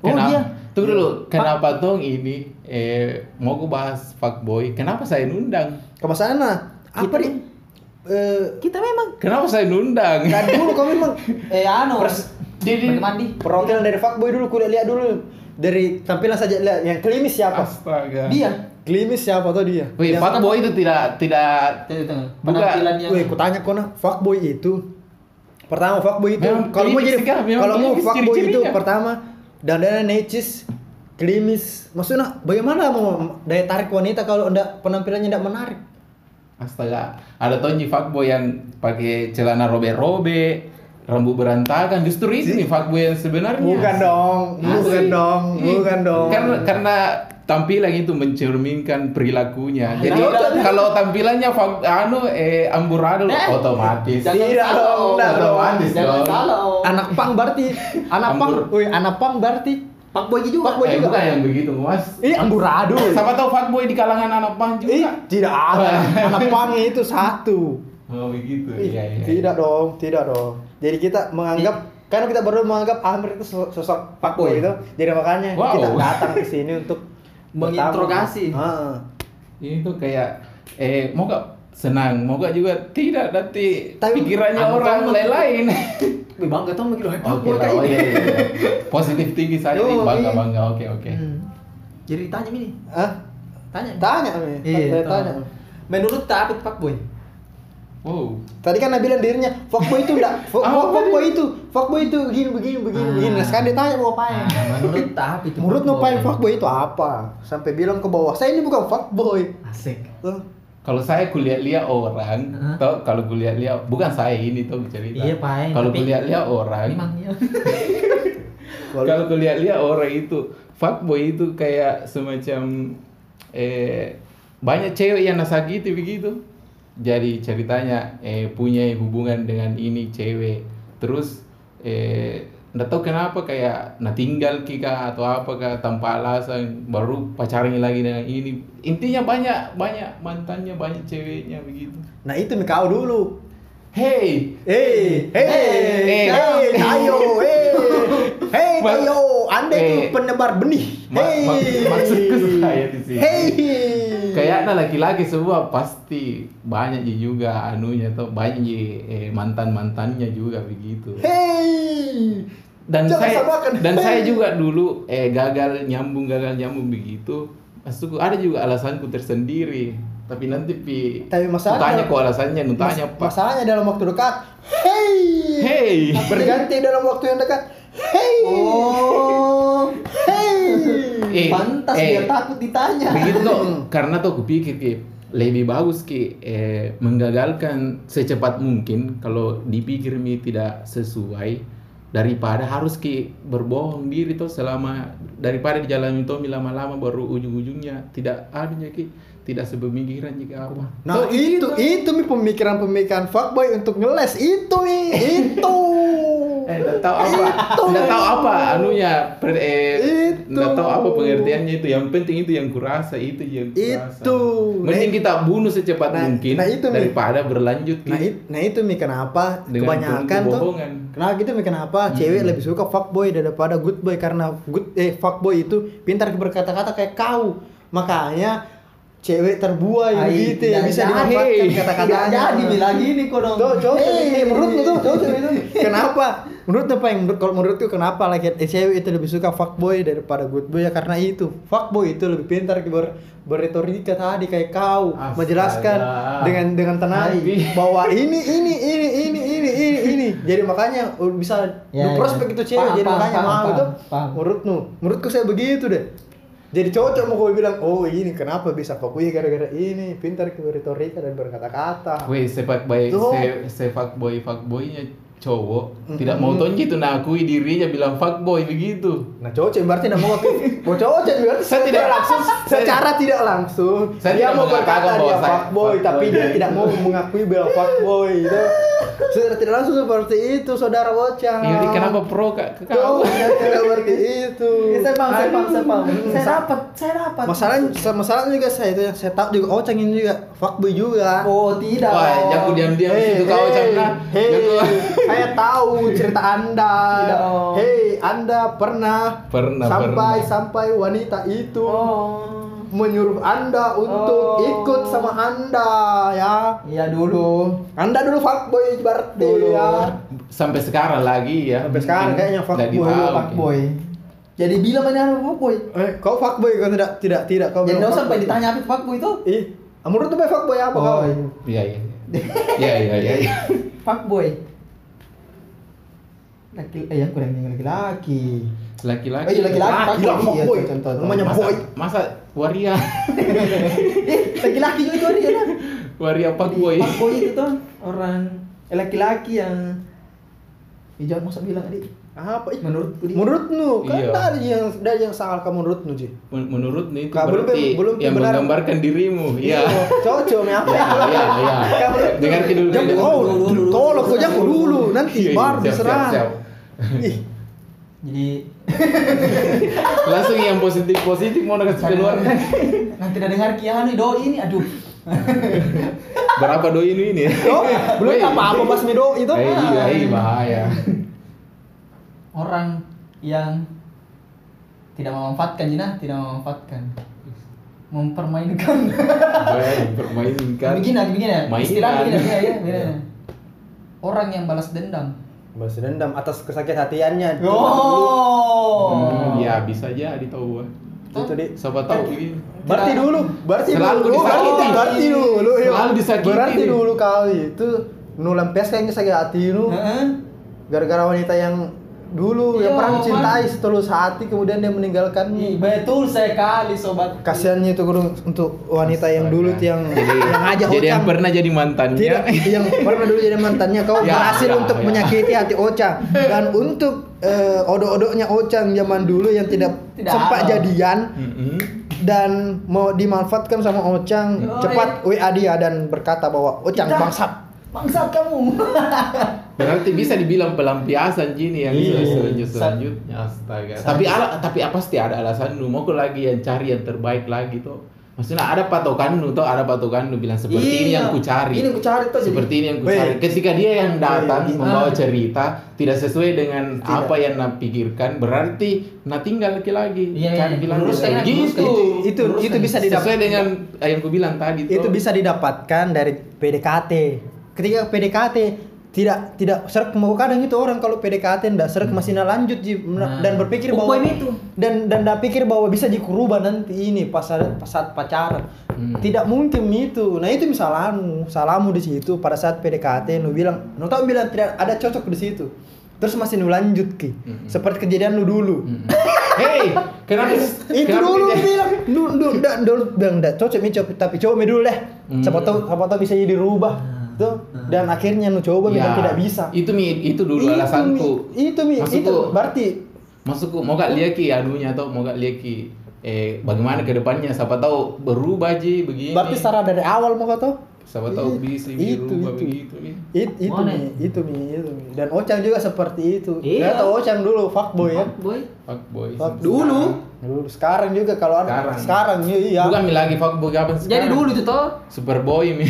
S3: Oh,
S6: Kenapa-
S3: iya.
S6: Tunggu dulu, kenapa tong ini eh mau ku bahas fuckboy? Kenapa saya nundang?
S5: ke sana. Apa di eh
S3: Kita memang
S6: Kenapa saya nundang?
S5: kan dulu kamu memang
S4: Eh anu.
S6: Di-
S4: Pakai
S6: di-
S4: mandi.
S5: perwakilan dari fuckboy dulu kulihat lihat dulu dari tampilan saja lihat yang klimis siapa?
S6: Astaga.
S4: Dia.
S5: Klimis siapa atau dia?
S6: Wih,
S5: Yang-
S6: fuckboy itu tidak tidak
S4: Tengok, tengok.
S6: Buka.
S4: Penampilan yang
S5: Weh, kutanya kau nah, fuckboy itu pertama fuckboy itu
S6: Memang
S5: kalau mau
S6: klimis
S5: jadi
S6: juga, memang
S5: kalau mau
S6: klimis
S5: fuckboy itu
S6: ciri-cirinya.
S5: pertama dandanan necis klimis maksudnya nah, bagaimana mau daya tarik wanita kalau ndak penampilannya ndak menarik
S6: Astaga, ada Tonji fuckboy yang pakai celana robe-robe, rambut berantakan. Justru itu nih fuckboy yang sebenarnya.
S5: Bukan dong, bukan
S6: Iya. Asli. Hmm.
S5: dong, bukan dong.
S6: Karena karena tampilan itu mencerminkan perilakunya. Jadi
S4: Nah,
S6: kalau tampilamnya fuck- anu eh amburadul otomatis.
S4: Jangan
S5: Tidak
S4: salah,
S5: dong,
S4: Om.
S5: tidak dong.
S4: Otomatis Jangan
S6: dong.
S4: salah. Om.
S5: anak pang berarti anak pang
S6: Ambur.
S5: woi anak pang berarti
S4: Fuckboy juga.
S5: Fuckboy
S6: Eh,
S5: juga.
S6: bukan yang begitu, Mas.
S5: ini amburadul
S6: Siapa tahu fuckboy di kalangan anak pang
S5: Ih,
S6: juga.
S5: tidak ada anak pangnya itu satu
S6: Oh, begitu.
S5: Ih,
S6: Iya, iya.
S5: tidak dong tidak dong jadi kita menganggap karena kita baru menganggap Amir itu so- sosok fuckboy itu jadi makanya
S6: Wow.
S5: kita datang ke sini untuk pertama.
S4: Menginterogasi.
S5: Heeh.
S6: Ini tuh kayak eh mau gak senang, mau gak juga tidak nanti
S5: Tapi-
S6: pikirannya
S5: Anu,
S6: orang lain-lain.
S4: Wih, bangga tau mikir "Wah,
S6: Oke,
S4: fuckboy
S6: lah,
S4: kayak
S6: oh,
S4: ini.
S6: iya, iya, iya. Positif tinggi saja
S5: Yo,
S6: nih, bangga
S5: iya.
S6: bangga. Oke, oke.
S4: Hmm. Jadi tanya ini,
S5: Hah?
S4: tanya. Mi.
S5: tanya Amir
S4: Iya,
S5: tanya, tanya.
S4: tanya. Menurut tak apa itu fuckboy?
S6: Wow.
S5: Tadi kan Nabilan dirinya, fuckboy itu enggak, fuck,
S6: Ah, apa Ah.
S5: fuck- fuckboy itu, fuckboy itu begini, begini, begini, begini. Nah, sekarang dia tanya mau ngapain.
S4: Ah, menurut tak apa itu
S5: Menurut ngapain
S4: fuckboy?
S5: fuckboy itu apa? Sampai bilang ke bawah, saya ini bukan fuckboy.
S4: Asik.
S5: Tuh.
S6: Kalau saya kuliah-lihat orang,
S4: Hah?
S6: tau kalau kuliah-lihat bukan saya ini tuh cerita.
S4: Iya, Pak.
S6: Kalau
S4: Tapi-
S6: kuliah-lihat orang,
S4: Memang iya.
S5: Kalau
S6: kalau kuliah-lihat orang itu fuckboy itu kayak semacam eh banyak cewek yang nasakiti begitu. Jadi ceritanya eh punya hubungan dengan ini cewek. Terus eh nggak tahu kenapa kayak nah tinggal kika atau apa kah tanpa alasan baru pacarnya lagi dengan ini intinya banyak banyak mantannya banyak ceweknya begitu
S5: Nah itu nih kau dulu.
S6: hey Eh.
S5: Hei, hei, hei, ayo, hei, hei,
S6: Ma-
S5: ayo, anda
S6: Eh.
S5: itu penebar benih.
S6: Ma-
S5: Hei,
S6: mak- maksudku saya di sini.
S5: Hei,
S6: kayaknya laki-laki semua pasti banyak je juga anunya tuh banyak je, eh, mantan mantannya juga begitu
S5: hei,
S6: dan
S5: Jangan
S6: saya
S5: samakan.
S6: dan saya juga dulu eh gagal nyambung gagal nyambung begitu maksudku ada juga alasanku tersendiri tapi nanti pi
S5: Tapi masalah-
S6: tanya kok alasannya nu
S5: Mas-
S6: tanya pak
S5: masalahnya dalam waktu dekat. Hei,
S6: hey
S5: berganti dalam waktu yang dekat. Hei,
S4: Oh.
S5: hei.
S6: Eh,
S4: Pantas
S6: eh. Iya,
S4: dia takut ditanya.
S6: begitu tuh karena tuh aku pikir Ki, lebih bagus ki eh, menggagalkan secepat mungkin kalau dipikir mi tidak sesuai daripada harus ki berbohong diri tuh selama daripada dijalani tuh mi lama-lama baru ujung-ujungnya tidak ada ya, ki tidak sepemikiran jika apa
S5: Nah itu, itu mi pemikiran-pemikiran fuckboy untuk ngeles itu mi, itu.
S6: eh nggak tahu apa nggak tahu apa anunya per, eh
S5: Itu.
S6: nggak tahu apa pengertiannya itu yang penting itu yang kurasa itu yang kurasa
S5: Itu.
S6: mending
S5: Nah,
S6: kita bunuh secepat
S5: nah,
S6: mungkin
S5: nah itu, Mi.
S6: daripada berlanjut gitu.
S5: Nah, it- nah itu mi kenapa
S6: Dengan Hmm.
S5: kebanyakan tuh
S6: kebohongan.
S5: kenapa gitu mi kenapa cewek lebih suka fuckboy daripada good boy karena good eh fuckboy itu pintar berkata-kata kayak kau makanya cewek terbuai
S4: Ai,
S5: begitu
S4: tidak
S5: ya bisa
S4: jadi.
S5: dimanfaatkan
S4: Tidak
S5: kata-katanya
S4: jadi bilang gini kok dong.
S5: Tuh, cowok,
S4: Hei,
S5: eh, menurutmu tuh, cowok cewek
S4: itu.
S5: kenapa menurut apa yang menurut kalau menurutku kenapa laki eh, cewek itu lebih suka fuckboy daripada good boy ya karena itu fuckboy itu lebih pintar ber berretorika tadi kayak kau
S6: Astaga.
S5: menjelaskan dengan dengan tenang
S6: Hai.
S5: bahwa ini ini ini ini ini ini ini jadi makanya uh, bisa
S4: Ya,
S5: nu
S4: ya.
S5: prospek itu cewek
S4: Paham,
S5: jadi
S4: paham,
S5: makanya
S4: paham,
S5: mau itu
S4: paham.
S5: menurutmu menurutku saya begitu deh jadi cocok mau gue bilang oh ini kenapa bisa fuckboy gara-gara ini pintar berretorika dan berkata-kata
S6: Weh, sepak boy,
S5: Tuh.
S6: se, sepak boy, fuckboynya cowok
S5: Mhm.
S6: tidak mau tonjit tuh nakui dirinya bilang fuckboy begitu.
S5: Nah cocok berarti nama mau mau cocok berarti
S6: Saya tidak langsung,
S5: secara tidak langsung
S6: Saya
S5: dia
S6: tidak
S5: mau
S6: mengatakan
S5: berkata
S6: bahwa
S5: dia
S6: saya
S5: fuckboy
S6: fuckboy.
S5: tapi dia tidak mau mengakui bahwa fuckboy itu secara tidak langsung seperti itu saudara bocah.
S6: Ini Iya, kenapa pro kak? Ke
S5: Ah.
S6: kau?
S5: Tuh, ya, tidak seperti itu.
S6: Iya,
S4: Sepang, sepang, sepang. Saya
S5: Sa-
S4: dapat, saya dapat.
S5: Masalahnya masalahnya juga saya itu yang saya tahu juga oh cengin juga fuckboy juga.
S4: Oh, tidak.
S6: Wah, jangan diam-diam di situ kau cangna.
S5: hei,
S6: Jangan-
S5: saya tahu cerita anda.
S4: Tidak, oh.
S5: Hei, anda pernah
S6: Pernah,
S5: sampai
S6: pernah.
S5: sampai wanita itu
S4: Oh.
S5: menyuruh anda untuk
S4: Oh.
S5: ikut sama anda ya.
S4: Iya dulu.
S5: Anda dulu fuckboy berarti
S4: Dulu.
S5: ya.
S6: Sampai sekarang lagi ya.
S5: Sampai sekarang kayaknya
S6: Nggak
S5: fuckboy,
S6: ditahu,
S4: Fuckboy. Jadi bila mana fuckboy?
S5: Eh, kau fuckboy kau tidak tidak tidak kau.
S4: Jadi
S5: bilang
S4: enggak Ya, usah sampai
S5: fuckboy.
S4: ditanya apa itu fuckboy itu.
S5: Ih, menurut tuh fuckboy apa kau?
S4: Oh,
S6: Ki. Iya iya. Iya iya iya. iya.
S4: fuckboy. Laki, eh, aku yang laki-laki.
S6: Laki-laki.
S4: Oh, iya, laki-laki.
S5: Ah, gila
S4: fuckboy. Iya,
S5: fuckboy.
S4: contoh, contoh.
S5: Namanya
S6: Masa,
S5: boy.
S6: masa waria,
S4: Eh, laki-laki juga itu dia kan.
S6: waria
S5: Iya.
S6: fuckboy.
S4: Fuckboy itu tuh orang eh, laki-laki yang Ih, jangan masa bilang adik.
S5: Apa? Ih,
S4: Menurutku dia.
S5: Menurutmu kan
S6: Iya.
S5: ada yang ada yang salah kamu menurutmu Ji.
S6: Men- Menurut nih itu
S5: Kak, belum-
S6: berarti
S5: belum
S6: yang
S5: benar.
S6: menggambarkan dirimu. Iya.
S5: Cocok nih apa?
S6: Iya iya iya.
S5: Ya, belum.
S6: Dengarkan dulu.
S5: Jangan
S6: dengarkan
S5: oh,
S6: dulu.
S5: tolong kau jangan dulu nanti
S6: Iya, iya,
S5: baru
S6: siap, siap,
S5: diserang.
S6: siap.
S5: Ih,
S4: Jadi
S6: Langsung yang positif positif mau kasih keluar.
S4: nanti udah dengar Kianu doi ini aduh.
S6: Berapa doi ini ini?
S5: Tuh, belum
S6: Weh.
S5: apa-apa Mas Mido itu.
S6: Eh, iya,
S5: Ah.
S6: iya, bahaya.
S4: Orang yang tidak memanfaatkan Jina, tidak memanfaatkan. Mempermainkan.
S6: Kan? Bahaya dipermainkan.
S4: Begini, begini ya.
S6: Mainan.
S4: Istilah begini, begini ya, begini
S6: Iya.
S4: ya. Orang yang balas dendam.
S5: Balas dendam atas kesakit hatiannya.
S4: Oh.
S6: Hmm, ya bisa aja ditahu gua.
S5: Itu di.
S6: Siapa tahu Iya. ini.
S5: Berarti dulu, berarti
S6: Selalu
S5: dulu,
S6: disakiti.
S5: berarti dulu, iya.
S6: Selalu disakiti.
S5: Berarti dulu kau itu nulam pes kayaknya sakit hati lu
S4: Heeh.
S5: gara-gara wanita yang dulu yang
S4: Iya,
S5: pernah
S4: Mas.
S5: mencintai setulus hati kemudian dia meninggalkanmu.
S4: Ih, Betul sekali sobat.
S5: kasihannya itu guru untuk wanita yang
S6: Astaga.
S5: dulu tuh yang yang ngajak
S6: Jadi yang
S5: Ocang.
S6: pernah jadi mantannya.
S5: tidak yang pernah dulu jadi mantannya kau
S6: Ya,
S5: berhasil
S6: ya,
S5: untuk
S6: ya.
S5: menyakiti hati Ocang dan untuk eh, odok-odoknya Ocang zaman dulu yang tidak,
S4: Tidak
S5: sempat
S4: ada.
S5: jadian
S6: Mm-mm.
S5: dan mau dimanfaatkan sama Ocang
S4: Yoi.
S5: cepat WA dia dan berkata bahwa Ocang
S4: Tidak.
S5: bangsat
S4: Bangsat kamu.
S6: Berarti bisa dibilang pelampiasan gini yang
S5: Iya.
S6: selanjut selanjutnya. Astaga. Tapi ala, tapi apa pasti ada alasan lu mau kok lagi yang cari yang terbaik lagi tuh. Maksudnya ada patokan lu tuh, ada patokan lu bilang seperti
S4: Iya.
S6: ini yang ku cari.
S4: Ini yang ku cari tuh, jadi-
S6: Seperti ini yang ku
S5: Weh.
S6: cari. Ketika dia yang datang
S5: Weh,
S6: membawa
S4: ah.
S6: cerita tidak sesuai dengan apa yang na pikirkan, berarti nah tinggal lagi lagi.
S4: Iya, iya.
S6: Cari bilang
S4: Luruskan, luruskan.
S6: gitu.
S5: itu itu,
S4: Terus
S5: itu
S4: kan
S5: bisa didapat
S6: Sesuai dengan eh, yang ku bilang tadi
S5: itu
S6: tuh.
S5: bisa didapatkan dari PDKT. Ketika PDKT tidak tidak serk mau kadang itu orang kalau PDKT ndak serk
S6: Hmm.
S5: masih na lanjut Ji. Na-
S4: Nah.
S5: dan berpikir bahwa
S4: Pokoknya itu.
S5: dan dan ndak pikir bahwa bisa dikurubah nanti ini pas ada- pas saat pacaran.
S6: Hmm.
S5: Tidak mungkin itu. Nah, itu misalmu, salahmu di situ pada saat PDKT lu bilang, "Nu tau bilang tidak ada cocok di situ." Terus masih nu lanjut Ki.
S6: Mm-mm.
S5: Seperti kejadian lu dulu.
S6: Mm-mm. Hei, kenapa Hmm.
S5: Itu
S6: kenapa
S5: dulu
S6: kita-
S5: lu bilang, lu lu ndak dulu bilang ndak cocok mi cocok tapi coba mi dulu deh.
S6: Hmm.
S5: Siapa tahu siapa tahu bisa jadi dirubah. Tuh. Dan akhirnya lu coba mi
S6: Ya,
S5: dan tidak bisa.
S6: Itu mi itu dulu
S5: Itu, Mi.
S6: alasanku.
S5: Itu mi
S6: Maksudku-
S5: itu berarti
S6: Maksudku mau gak liaki anunya atau mau gak liaki eh bagaimana ke depannya siapa tahu berubah ji begini.
S5: berarti secara dari awal mau kata
S6: siapa tahu
S5: Iya,
S6: bisa
S5: itu,
S6: dirubah
S5: itu.
S6: begitu nih
S5: It, itu
S4: Mana?
S5: Mi, itu mi, itu mi. Dan Ocang juga seperti itu.
S4: Iya.
S5: Ternyata Ocang dulu fuckboy ya.
S4: boy
S6: fuckboy
S5: Fuck-
S4: Dulu?
S5: Dulu sekarang juga kalau ada
S6: Sekarang.
S5: sekarang, iya.
S6: bukan mi lagi fuckboy kapan sekarang
S4: jadi dulu itu toh
S6: superboy mi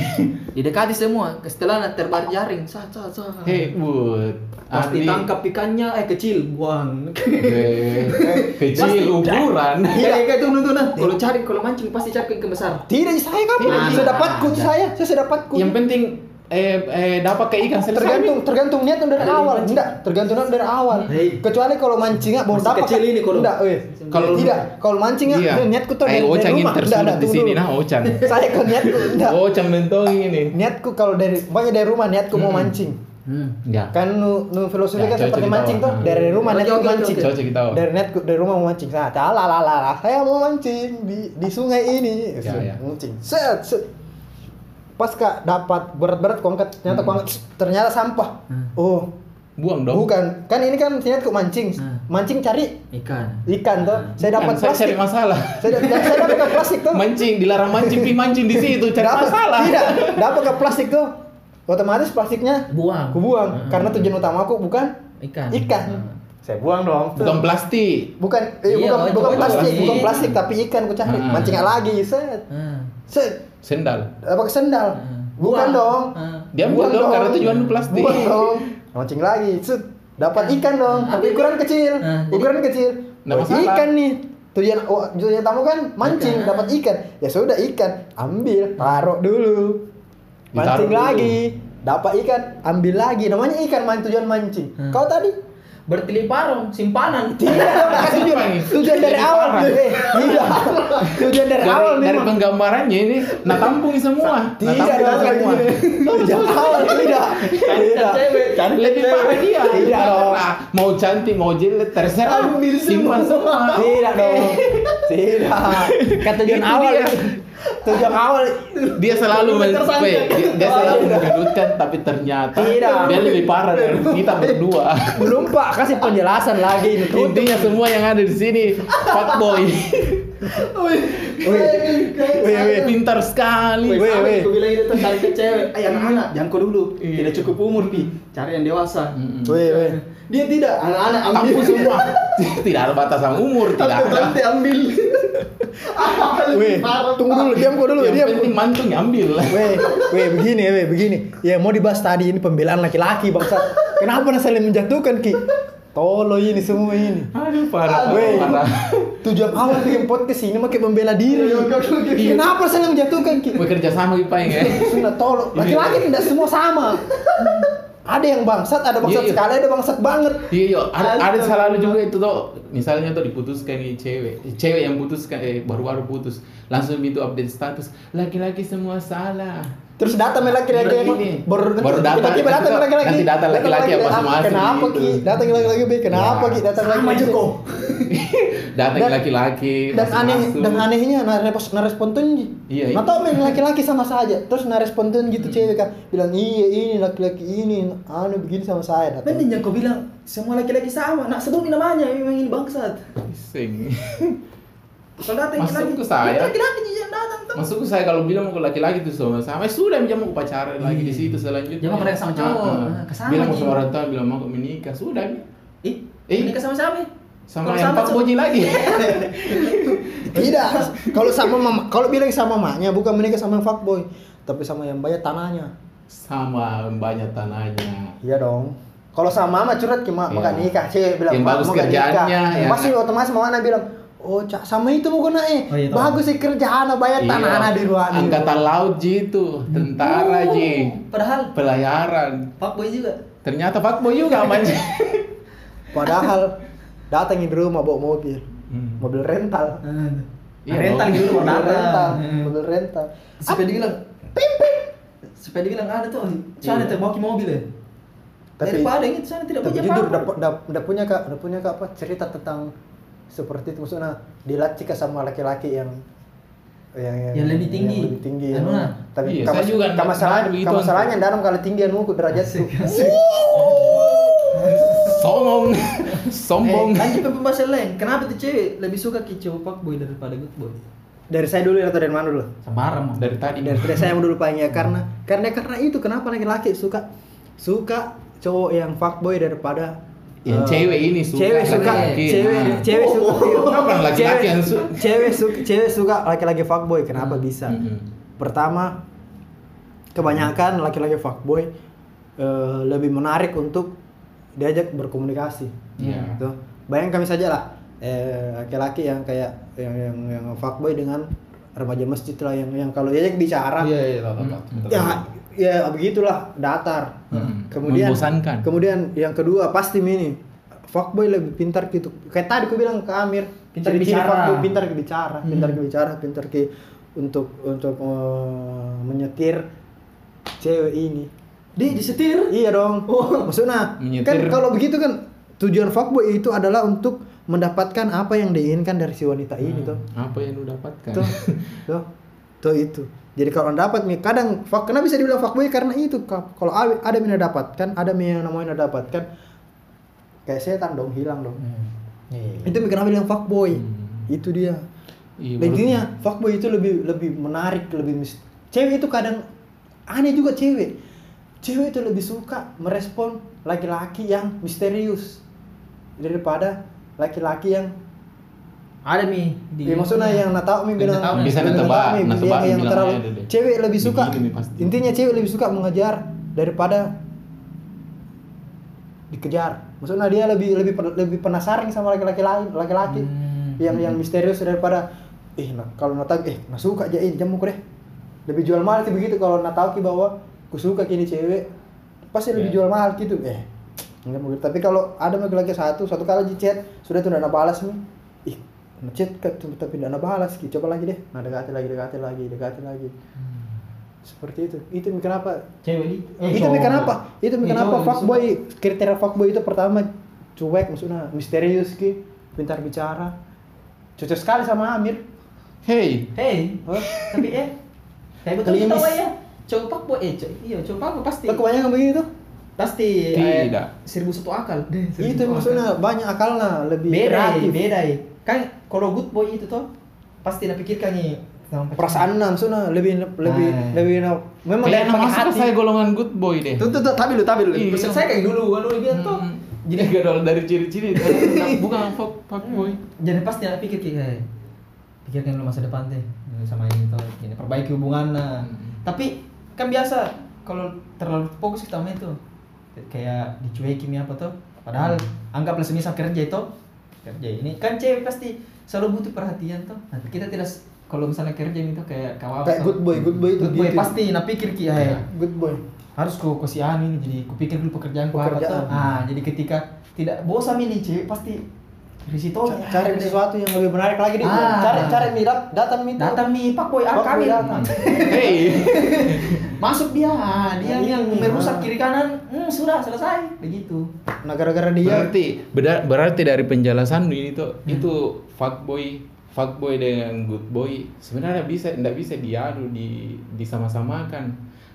S4: didekati semua setelah terbar jaring sah sah sah
S6: hey bud
S4: pasti
S6: Asli.
S4: tangkap ikannya eh kecil buang
S6: Eh, kecil ukuran
S4: Iya, kayak itu nontonan. Kalau cari, kalau mancing pasti cari ikan besar.
S5: Tidak saya kapan?
S4: Tidak,
S5: saya
S4: tidak,
S5: dapatku itu
S4: tidak.
S5: saya, saya sudah dapatku.
S6: yang penting eh, eh dapat ke ikan selesai
S5: tergantung tergantung niat dari
S4: Dari
S5: awal.
S4: mancing.
S5: Enggak, tergantung niat dari awal.
S4: Hei.
S5: Kecuali kalau ah, mancingnya mau
S4: Masih
S5: dapat.
S4: kecil ini kalau-
S5: kan? enggak, weh.
S6: Kalau lu-
S5: tidak, kalau mancingnya
S6: iya
S5: niatku tuh
S6: eh
S5: dari, dari
S6: ocang yang
S5: rumah. Enggak,
S6: tersulut
S5: enggak,
S6: di
S5: tunggu
S6: sini
S5: dulu.
S6: nah ocang
S5: Saya kalau niatku enggak.
S6: ocang bentong ini
S5: Niatku kalau dari pokoknya dari rumah niatku mau mancing.
S4: Hmm.
S6: ya
S5: Kan nu, nu filosofi
S6: Ya,
S5: kan
S6: cocok
S5: seperti
S6: kita
S5: mancing tuh
S6: awal.
S5: dari rumah
S4: Oke,
S5: niatku
S4: oke, oke,
S5: mancing.
S4: oke.
S6: cocok kita Om.
S5: Dari niatku dari rumah mau mancing. Saya lah lah lah, lah. saya mau mancing di di sungai ini.
S6: Ya, ya.
S5: Mancing. Set, set. Pas kak dapat berat-berat kuangkat, ternyata
S6: Hmm.
S5: kuangkat, ternyata sampah.
S4: Hmm.
S5: Oh,
S6: buang dong
S5: Bukan, kan ini kan niatku mancing,
S4: Hmm.
S5: mancing cari
S4: Ikan.
S5: ikan toh. Saya
S6: Bukan,
S5: dapat
S6: Hmm. Kan, saya cari
S5: plastik.
S6: masalah
S5: Saya, da- da- saya dapat ke plastik tuh.
S6: mancing dilarang mancing pi mancing di situ cari
S5: Dapat-
S6: masalah
S5: Tidak, dapat ke plastik tuh. Otomatis plastiknya
S4: Buang. Hmm.
S5: aku
S6: Hmm.
S5: buang karena tujuan utamaku bukan
S4: Ikan.
S5: ikan. Saya buang dong.
S6: bukan plastik
S5: Bukan, eh,
S4: Iya,
S5: bukan,
S4: oh,
S5: bukan
S4: itu Ah.
S5: plastik,
S6: plastik.
S5: bukan plastik tapi ikan ku cari.
S6: Hmm.
S5: Mancingnya lagi, set,
S4: Hmm.
S5: set,
S6: sendal
S5: dapat ke
S4: Ah.
S5: sendal. Bukan
S4: Buang.
S5: dong.
S4: Hmm.
S6: dia buang dong karena tujuan lu plastik
S5: Buang dong. Mancing lagi. Set. Dapat ikan dong,
S4: Nah,
S5: tapi ukuran kecil.
S4: Nah, jadi-
S5: Ukuran kecil.
S6: Nggak
S5: Oh,
S6: masalah.
S5: ikan nih. Tujuan oh, tujuan tamu kan mancing,
S4: Ikan.
S5: dapat ikan. Ya sudah ikan, ambil, taruh dulu.
S6: Ditaruh
S5: Mancing
S6: dulu.
S5: lagi. Dapat ikan, ambil lagi. Namanya ikan man tujuan mancing.
S4: Hmm.
S5: Kau tadi
S4: Bertili parong, simpanan.
S6: Iya,
S5: tidak dong, kasih dia.
S6: Apa ini?
S5: Tujuan dari
S6: Iya,
S5: awal. Eh, tidak. Tujuan dari awal
S6: dari, dari
S5: memang.
S6: penggambarannya ini nah tampung semua nah
S5: Tidak dong,
S6: tampung semua
S5: tujuan awal tidak. Tidak.
S4: cewek.
S5: Cantik
S6: lebih
S5: cewek.
S6: parah dia
S5: Tidak dong.
S6: Nah, mau cantik mau jelek terserah ambil simpan semua
S5: Tidak dong. Tidak. Kan tujuan
S6: Itu
S5: awal.
S6: dia.
S5: Tujuan awal.
S6: dia selalu men
S4: Tersangka.
S6: weh, dia, dia selalu menggendutkan tapi ternyata
S5: Tidak.
S6: dia lebih parah dari kita berdua
S5: Belum Pak, kasih penjelasan lagi ini. Tutup.
S6: intinya semua yang ada di sini fuckboy
S5: Weh. Weh, weh.
S6: pintar sekali
S5: Weh, weh, weh.
S4: Aku bilang itu tuh cari ke cewek. Eh anak-anak, jangan kau dulu.
S6: Iya.
S4: Tidak cukup umur pi. Cari yang dewasa.
S5: Weh, weh.
S4: Dia tidak. Anak-anak ambil
S6: tampung semua tidak ada batasan umur tidak ada
S4: Nanti ambil. Ah,
S5: Weh,
S4: lebih parah.
S5: tunggu dulu, diam kok dulu,
S6: yang
S5: diam.
S6: penting mantung ambil
S5: Weh, weh begini, weh begini. Ya mau dibahas tadi ini pembelaan laki-laki bangsa. Kenapa anda saling menjatuhkan Ki? Tolo ini semua ini.
S6: aduh parah
S5: Weh,
S6: parah
S5: tujuan awal bikin podcast ini makin membela diri.
S4: Iya, iya, iya, iya.
S5: Kenapa saling menjatuhkan Ki?
S6: Weh, kerja sama kita ya
S5: Sudah tolong. Laki-laki tidak semua sama. Ada yang bangsat, ada bangsat
S6: Iya, iya.
S5: sekali, ada bangsat banget.
S6: Iya, iya. ada, ada selalu juga itu tuh. Misalnya tuh diputuskan nih cewek, cewek yang putuskan eh baru-baru putus, langsung itu update status, laki-laki semua salah.
S5: Terus datang main laki-laki yang
S6: Ini.
S5: baru
S6: Baru datang.
S5: tiba-tiba datang
S6: Nanti
S5: laki-laki.
S6: datang laki-laki yang
S5: laki-laki.
S6: masing-masing
S5: Kenapa
S6: gitu.
S5: Ki? Datang laki-laki Be. Kenapa
S6: Ya.
S5: Ki? Datang laki-laki.
S4: Sama aja kok.
S6: Datang
S5: Dan-
S6: laki-laki.
S5: Dan
S6: masuk-masuk.
S5: aneh dan anehnya nah, narespon narespon tuh
S6: Iya, Hmm.
S5: Nah
S6: iya.
S5: tau main laki-laki sama saja. Terus narespon tuh gitu cewek kan bilang iya ini laki-laki ini anu begini sama saya. Datang.
S4: Penting yang kau bilang semua laki-laki sama. Nak sebut namanya memang ini bangsat.
S6: Pusing.
S4: Kalau datang
S6: Masuk
S4: laki-laki,
S6: ke saya.
S4: Laki-laki yang datang tuh.
S6: Masuk saya kalau bilang mau ke laki-laki itu sama sama eh, sudah jam mau pacaran lagi di situ selanjutnya.
S4: Iya. Jangan mereka sama cowok.
S6: Ah, ah.
S4: Ah, kesana
S6: Bilang mau
S4: lagi.
S6: sama orang tua, bilang mau menikah, sudah Mi.
S4: Ih,
S6: Eh.
S4: ini sama siapa?
S6: Sama
S4: Kalau
S6: yang
S4: sama
S6: Pak
S4: cowok.
S6: Boji lagi.
S5: Tidak. Kalau sama mama, kalau bilang sama mamanya bukan menikah sama yang fuckboy, tapi sama yang bayar tanahnya.
S6: sama banyak tanahnya.
S5: Iya dong. Kalau sama mama curhat ke mak,
S6: Iya.
S5: maka nikah cewek bilang
S6: Yang
S5: "Mak,
S6: bagus
S5: mau nggak
S6: kerjaannya,
S5: nikah?"
S6: ya.
S5: Pasti otomatis mama anak bilang, "Oh, cak sama itu mau kena eh.
S4: Oh, iya, tahu.
S5: bagus sih kerjaan anak
S6: Iya.
S5: bayar tanah anak di luar nih."
S6: Angkatan laut Ji itu, tentara
S4: Uh,
S6: Ji,
S5: Oh.
S4: Padahal
S6: pelayaran.
S4: Pak Boy juga.
S6: Ternyata fuckboy juga manji.
S5: Padahal datangin di rumah bawa mobil.
S6: Hmm.
S5: Mobil rental.
S6: Iya,
S4: rental Hmm.
S6: dong.
S4: gitu
S5: Mobil
S4: kalau
S5: rental.
S4: datang.
S5: Mobil rental.
S4: Sampai dibilang, pimpin. Sampai dibilang ada tuh, sana
S6: Iya.
S4: tuh bawa ke mobil ya.
S5: Tapi-
S4: Daripada yang itu sana tidak
S5: Tapi
S4: punya
S5: jujur
S4: apa-apa.
S5: udah punya kak, udah punya kak apa cerita tentang seperti itu maksudnya dilatih Kak, sama laki-laki yang yang,
S4: Yang lebih tinggi.
S5: lebih tinggi
S4: Anu nah.
S6: Iya,
S5: tapi kamu
S6: saya juga
S5: juga
S6: nggak-
S5: masalahnya
S6: nggak begitu,
S5: kamu
S6: Anto.
S5: masalahnya dalam kali tinggianmu ku derajat tuh
S6: Songong, sombong.
S4: Eh, lanjut ke pembahasan lain. Kenapa tuh cewek lebih suka ke cowok Pak Boy daripada Good Boy?
S5: Dari saya dulu atau dari mana dulu?
S6: Sabar Mam, dari tadi.
S5: dari dari saya yang dulu paling ya
S6: Hmm.
S5: karena karena karena itu kenapa laki-laki suka suka cowok yang fuckboy daripada
S6: Yang
S5: eh,
S6: cewek ini suka
S5: cewek suka
S6: laki-laki.
S5: cewek
S6: Nah.
S5: cewek suka
S6: Orang laki-laki yang suka. Hmm.
S5: cewek suka cewek suka laki-laki fuckboy kenapa bisa
S6: Mm-mm.
S5: pertama kebanyakan laki-laki fuckboy eh, lebih menarik untuk diajak berkomunikasi
S6: Iya.
S5: gitu. bayangkan saja lah eh, laki-laki yang kayak yang yang yang fuckboy dengan remaja masjid lah yang yang kalau diajak bicara
S6: Iya, iya, tahu, tahu, tahu.
S5: ya ya begitulah datar
S6: Mm-mm.
S5: kemudian
S6: Membosankan.
S5: kemudian yang kedua pasti ini fuckboy lebih pintar gitu kayak tadi aku bilang ke Amir
S4: Pintar
S5: ciri-ciri
S4: bicara.
S5: fuckboy, pintar ke bicara pintar
S4: Hmm.
S5: ke bicara pintar ke untuk untuk eh, menyetir cewek ini
S4: Di disetir. Oh.
S5: iya dong maksudnya kan
S6: Menyetir.
S5: kalau begitu kan tujuan fuckboy itu adalah untuk mendapatkan apa yang diinginkan dari si wanita ini
S4: Hmm.
S5: tuh
S6: Hmm. Apa yang lu dapatkan?
S5: tuh tuh tuh itu jadi kalau anda dapat nih kadang fuck kenapa bisa dibilang fuckboy karena itu Ka- kalau awi- ada yang anda dapatkan ada yang namanya anda dapatkan kayak setan dong hilang dong
S6: Iya.
S5: itu kenapa bilang fuckboy
S6: Hmm.
S5: itu dia
S6: Iya, walaupun-
S5: Dan intinya fuckboy itu lebih lebih menarik lebih mis- cewek itu kadang aneh juga cewek cewek itu lebih suka merespon laki-laki yang misterius daripada laki-laki yang
S4: Ada nih di.
S5: Ya, maksudnya yang nak tahu
S4: Yang
S5: mi bilang
S4: nak tahu,
S6: Iya. Bisa
S5: yang
S6: nak
S5: nak
S6: tebak,
S5: tahu mi,
S6: nak
S5: yang-
S6: tebak
S5: yang
S6: bilang "Eh, gitu.
S5: terlalu
S6: aja deh.
S5: cewek lebih suka
S6: Begini nih gitu, pasti.
S5: intinya cewek lebih suka mengejar daripada dikejar maksudnya dia lebih lebih pen- lebih penasaran sama laki-laki lain laki-laki yang yang misterius daripada eh nah, kalau nak tahu eh nak suka aja ini jamu ku deh lebih jual mahal sih begitu kalau nak tahu ki bahwa ku suka kini cewek pasti lebih
S6: Ya.
S5: jual mahal gitu eh enggak mungkin tapi kalau ada laki-laki satu satu kali di chat sudah tuh nak balas nih ih nak chat ke- tu- tapi nak balas ki coba lagi deh nah dekati lagi dekati lagi dekati lagi seperti itu itu kenapa
S4: Cewek di.
S5: itu mi kenapa? Itu
S4: Eh,
S5: mi kenapa
S4: cowok,
S5: fuckboy kriteria fuckboy itu pertama cuek maksudnya misterius ki, pintar bicara. Cocok sekali sama Amir.
S6: Hey,
S4: Hei,
S5: Hah?
S4: tapi eh. Tapi betul kita
S5: Kelimis.
S4: ya. Cowok fuckboy eh cowok. Iya, cowok fuckboy pasti.
S5: Tuh kebanyakan begitu tuh.
S4: Pasti eh,
S6: Tidak.
S4: seribu satu akal. Deh, seribu
S5: Itu
S4: satu akal.
S5: maksudnya banyak akalnya, lebih
S4: beda
S5: kreatif.
S4: eh, beda eh. kan kalau good boy itu tuh pasti nak pikirkan eh, nih sama pacar.
S5: Perasaan maksudnya lebih lebih
S4: Nah.
S5: lebih memang dari
S6: kayaknya
S5: pakai
S6: masuk ke
S5: hati.
S6: saya golongan good boy deh.
S5: Tuh tuh tuh tapi lu tapi lu.
S6: Iya.
S4: Maksud saya kayak dulu kan dulu bilang tuh
S6: Hmm. Jadi gak ada dari ciri-ciri Bukan- bukan fuck fuck boy.
S4: jadi pasti nak pikir kayak eh, pikirkan lu masa depan teh Dulu sama ini tuh gini perbaiki hubungan nah
S6: Hmm.
S4: tapi kan biasa kalau terlalu fokus kita sama itu kayak dicuekin ya apa tuh padahal
S5: Hmm.
S4: anggaplah semisal kerja itu kerja ini kan cewek pasti selalu butuh perhatian tuh nah, kita tidak s- kalau misalnya kerja itu kayak kawan
S5: Kayak good boy, good boy itu
S4: good boy
S5: gitu.
S4: pasti nak pikir ki
S6: Iya.
S4: eh,
S5: Good boy.
S4: harus ku kasih anu ini jadi kupikir dulu pekerjaan ku apa tuh
S5: Pekerjaan.
S4: ah jadi ketika tidak bosan ini cewek pasti risiko
S5: Ca-
S4: tolong
S5: Cari sesuatu yang lebih menarik lagi deh.
S4: Oh, iya, Ah.
S5: Cari cari mirat datang mi tuh.
S4: datang nih pak boy ah,
S5: Fuckboy
S4: kami
S5: datang.
S6: Hey,
S4: masuk dia ah, dia
S5: Nah,
S4: yang
S5: ini.
S4: merusak kiri kanan hmm, sudah selesai begitu
S5: Nah gara-gara dia
S6: berarti beda- berarti dari penjelasan ini tuh itu fuck boy fuck boy dengan good boy sebenarnya bisa tidak bisa diadu di disama-samakan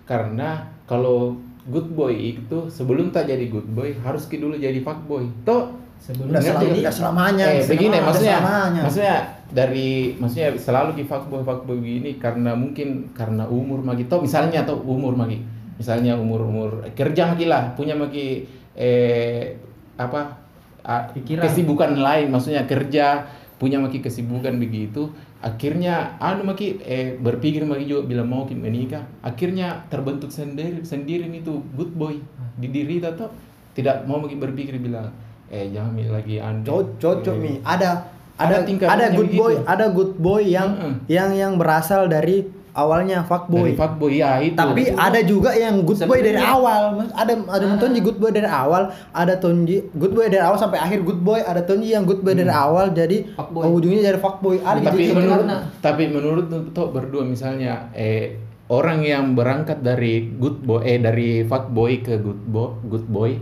S6: karena kalau good boy itu sebelum tak jadi good boy harus ki dulu jadi fuck boy toh
S4: sebelum
S5: udah
S6: Ngerti
S5: selama-
S6: nggak?
S5: udah selamanya. Ah,
S6: Eh, begini
S5: Udah
S6: maksudnya.
S5: selamanya.
S6: Maksudnya dari maksudnya selalu di fuckboy fuckboy begini karena mungkin karena umur magi toh misalnya atau umur magi. Misalnya umur-umur kerja magi lah, punya magi eh apa ah,
S4: Pikiran.
S6: kesibukan lain maksudnya kerja punya maki kesibukan begitu akhirnya anu maki eh, berpikir maki juga bila mau ki menikah akhirnya terbentuk sendiri sendiri itu good boy di diri tetap tidak mau maki berpikir bilang eh jangan Mi, lagi anu
S5: cocok cocok
S6: Eh,
S5: mi ada
S6: Ada
S5: ada ada,
S6: tingkah laku yang gitu.
S5: good boy
S6: begitu.
S5: ada good boy yang
S6: Mm-mm.
S5: yang yang berasal dari awalnya
S6: dari
S5: fuckboy
S6: fuckboy ya itu
S5: tapi ada juga yang good boy dari awal Mas- ada ada
S6: Hmm.
S5: tonji good boy dari awal ada tonji good boy dari awal sampai akhir good boy ada tonji yang good boy dari awal jadi
S4: Fuckboy.
S5: ujungnya dari fuckboy ada
S6: Hmm. tapi
S5: gitu.
S6: menurut
S4: karena-
S6: tapi menurut tuh berdua misalnya eh orang yang berangkat dari good boy eh dari fuckboy ke good boy good boy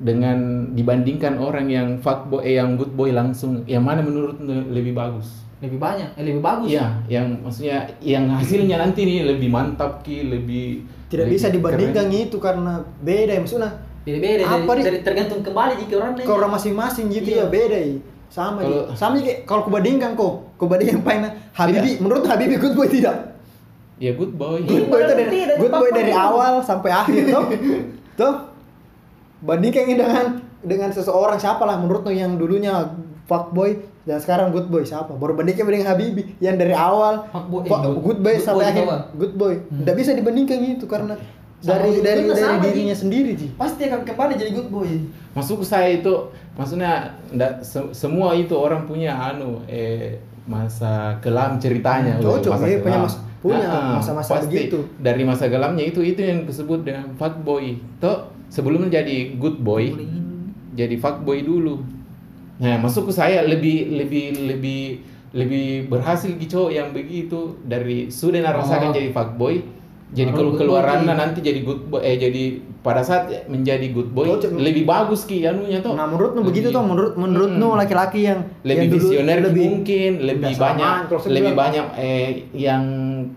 S6: dengan dibandingkan orang yang fuckboy eh yang good boy langsung yang mana menurut lu lebih bagus
S4: lebih banyak eh, lebih bagus
S6: Iya, yang maksudnya yang hasilnya nanti nih lebih mantap ki, lebih
S5: tidak
S6: lebih
S5: bisa dibandingkan
S6: keren.
S5: itu karena beda ya maksudnya
S4: beda beda
S5: Apa, Dik?
S4: dari, dari tergantung kembali jika orang
S5: ke orang masing-masing gitu
S4: Iya.
S5: ya beda ya. Sama
S6: Kalau-
S5: Ji. Sama Ji, kayak kalau kubandingkan kok, kubandingkan paling Habibi, menurut Habibi good boy tidak?
S6: ya good boy
S5: Good boy itu dari
S4: Tidak,
S5: good boy
S4: apapun
S5: dari
S4: itu.
S5: awal sampai akhir tuh. tuh. Bandingkan ini dengan dengan seseorang siapa lah menurut lo yang dulunya fuckboy dan sekarang good boy siapa? Baru bandingkan dengan Habibi yang dari awal
S4: Fuckboy, eh,
S5: fuck-
S4: good-
S5: good boy
S4: good
S5: sampai
S4: boy
S5: akhir
S4: juga.
S5: good boy.
S6: Hmm.
S5: Tidak bisa dibandingkan itu karena dari
S4: Sama-
S5: dari
S4: itu
S5: dari
S4: sama, Ji.
S5: dirinya sendiri Ji.
S4: Pasti akan kembali jadi good boy.
S6: maksudku saya itu maksudnya ndak se- semua itu orang punya anu eh masa kelam ceritanya loh,
S5: Cocok,
S6: masa
S5: iya, punya
S6: kelam.
S5: mas- punya
S6: Ah,
S5: masa-masa
S6: pasti.
S5: begitu.
S6: dari masa kelamnya itu itu yang disebut dengan fuckboy toh sebelumnya jadi good boy jadi fuckboy dulu nah maksudku saya lebih lebih lebih lebih berhasil gitu yang begitu dari sudah narasakan
S4: Oh.
S6: jadi fuckboy jadi
S4: Baru
S6: kalau
S4: good
S6: keluarannya
S4: boy.
S6: nanti jadi good boy eh jadi pada saat menjadi good boy
S5: Cocok.
S6: lebih bagus ki anunya toh
S5: Nah menurut lu
S6: Lebih-
S5: begitu tuh menurut menurut lu
S4: Hmm.
S6: Mm-mm.
S5: laki-laki yang
S6: lebih
S5: yang dulu
S6: visioner mungkin lebih
S5: Udah
S6: banyak
S5: samaan, kalau saya
S6: lebih
S5: bilang.
S6: banyak eh yang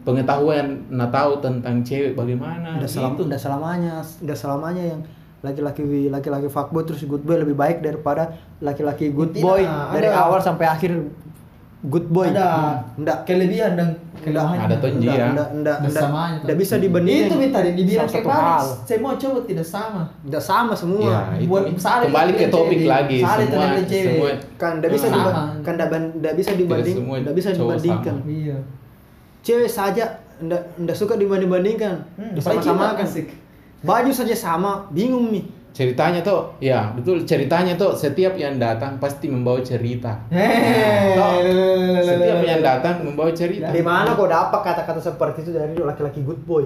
S6: pengetahuan nah tahu tentang cewek bagaimana
S5: udah selam,
S6: gitu.
S5: udah selamanya udah selamanya yang laki-laki laki-laki fuckboy terus good boy lebih baik daripada laki-laki good
S4: Tidak,
S5: boy
S4: ada.
S5: dari awal sampai akhir good boy. Hmm.
S4: Ada
S5: Enggak.
S4: kelebihan dan kelemahannya.
S6: Ada tuh, Ji, ya.
S5: Enggak, enggak,
S4: Ada samanya, tuh.
S5: bisa dibandingin.
S4: Itu minta dibilang
S5: sama satu
S4: kembali.
S5: hal.
S4: Semua cowok tidak sama.
S5: Enggak sama semua.
S6: Ya, itu.
S4: Buat saling
S6: kembali ke
S4: dengan
S6: topik
S4: cewek.
S6: lagi
S4: Saling
S6: semua
S4: dengan cewek.
S6: semua
S5: Kan enggak bisa
S4: Sama.
S5: diba- kan enggak ban- enggak bisa dibanding,
S6: semua
S5: enggak bisa
S6: cowok
S5: dibandingkan.
S6: sama.
S4: Iya.
S5: Cewek saja enggak enggak suka dibanding-bandingkan.
S4: Hmm,
S5: Disama-samakan.
S4: apalagi kita asik.
S5: Baju saja sama, bingung nih.
S6: ceritanya toh
S5: Hmm.
S6: ya betul ceritanya toh setiap yang datang pasti membawa cerita
S4: Eh,
S6: Toh,
S4: lelelelelele.
S6: setiap yang datang membawa cerita
S5: Dari mana kau dapat kata-kata seperti itu dari laki-laki good boy?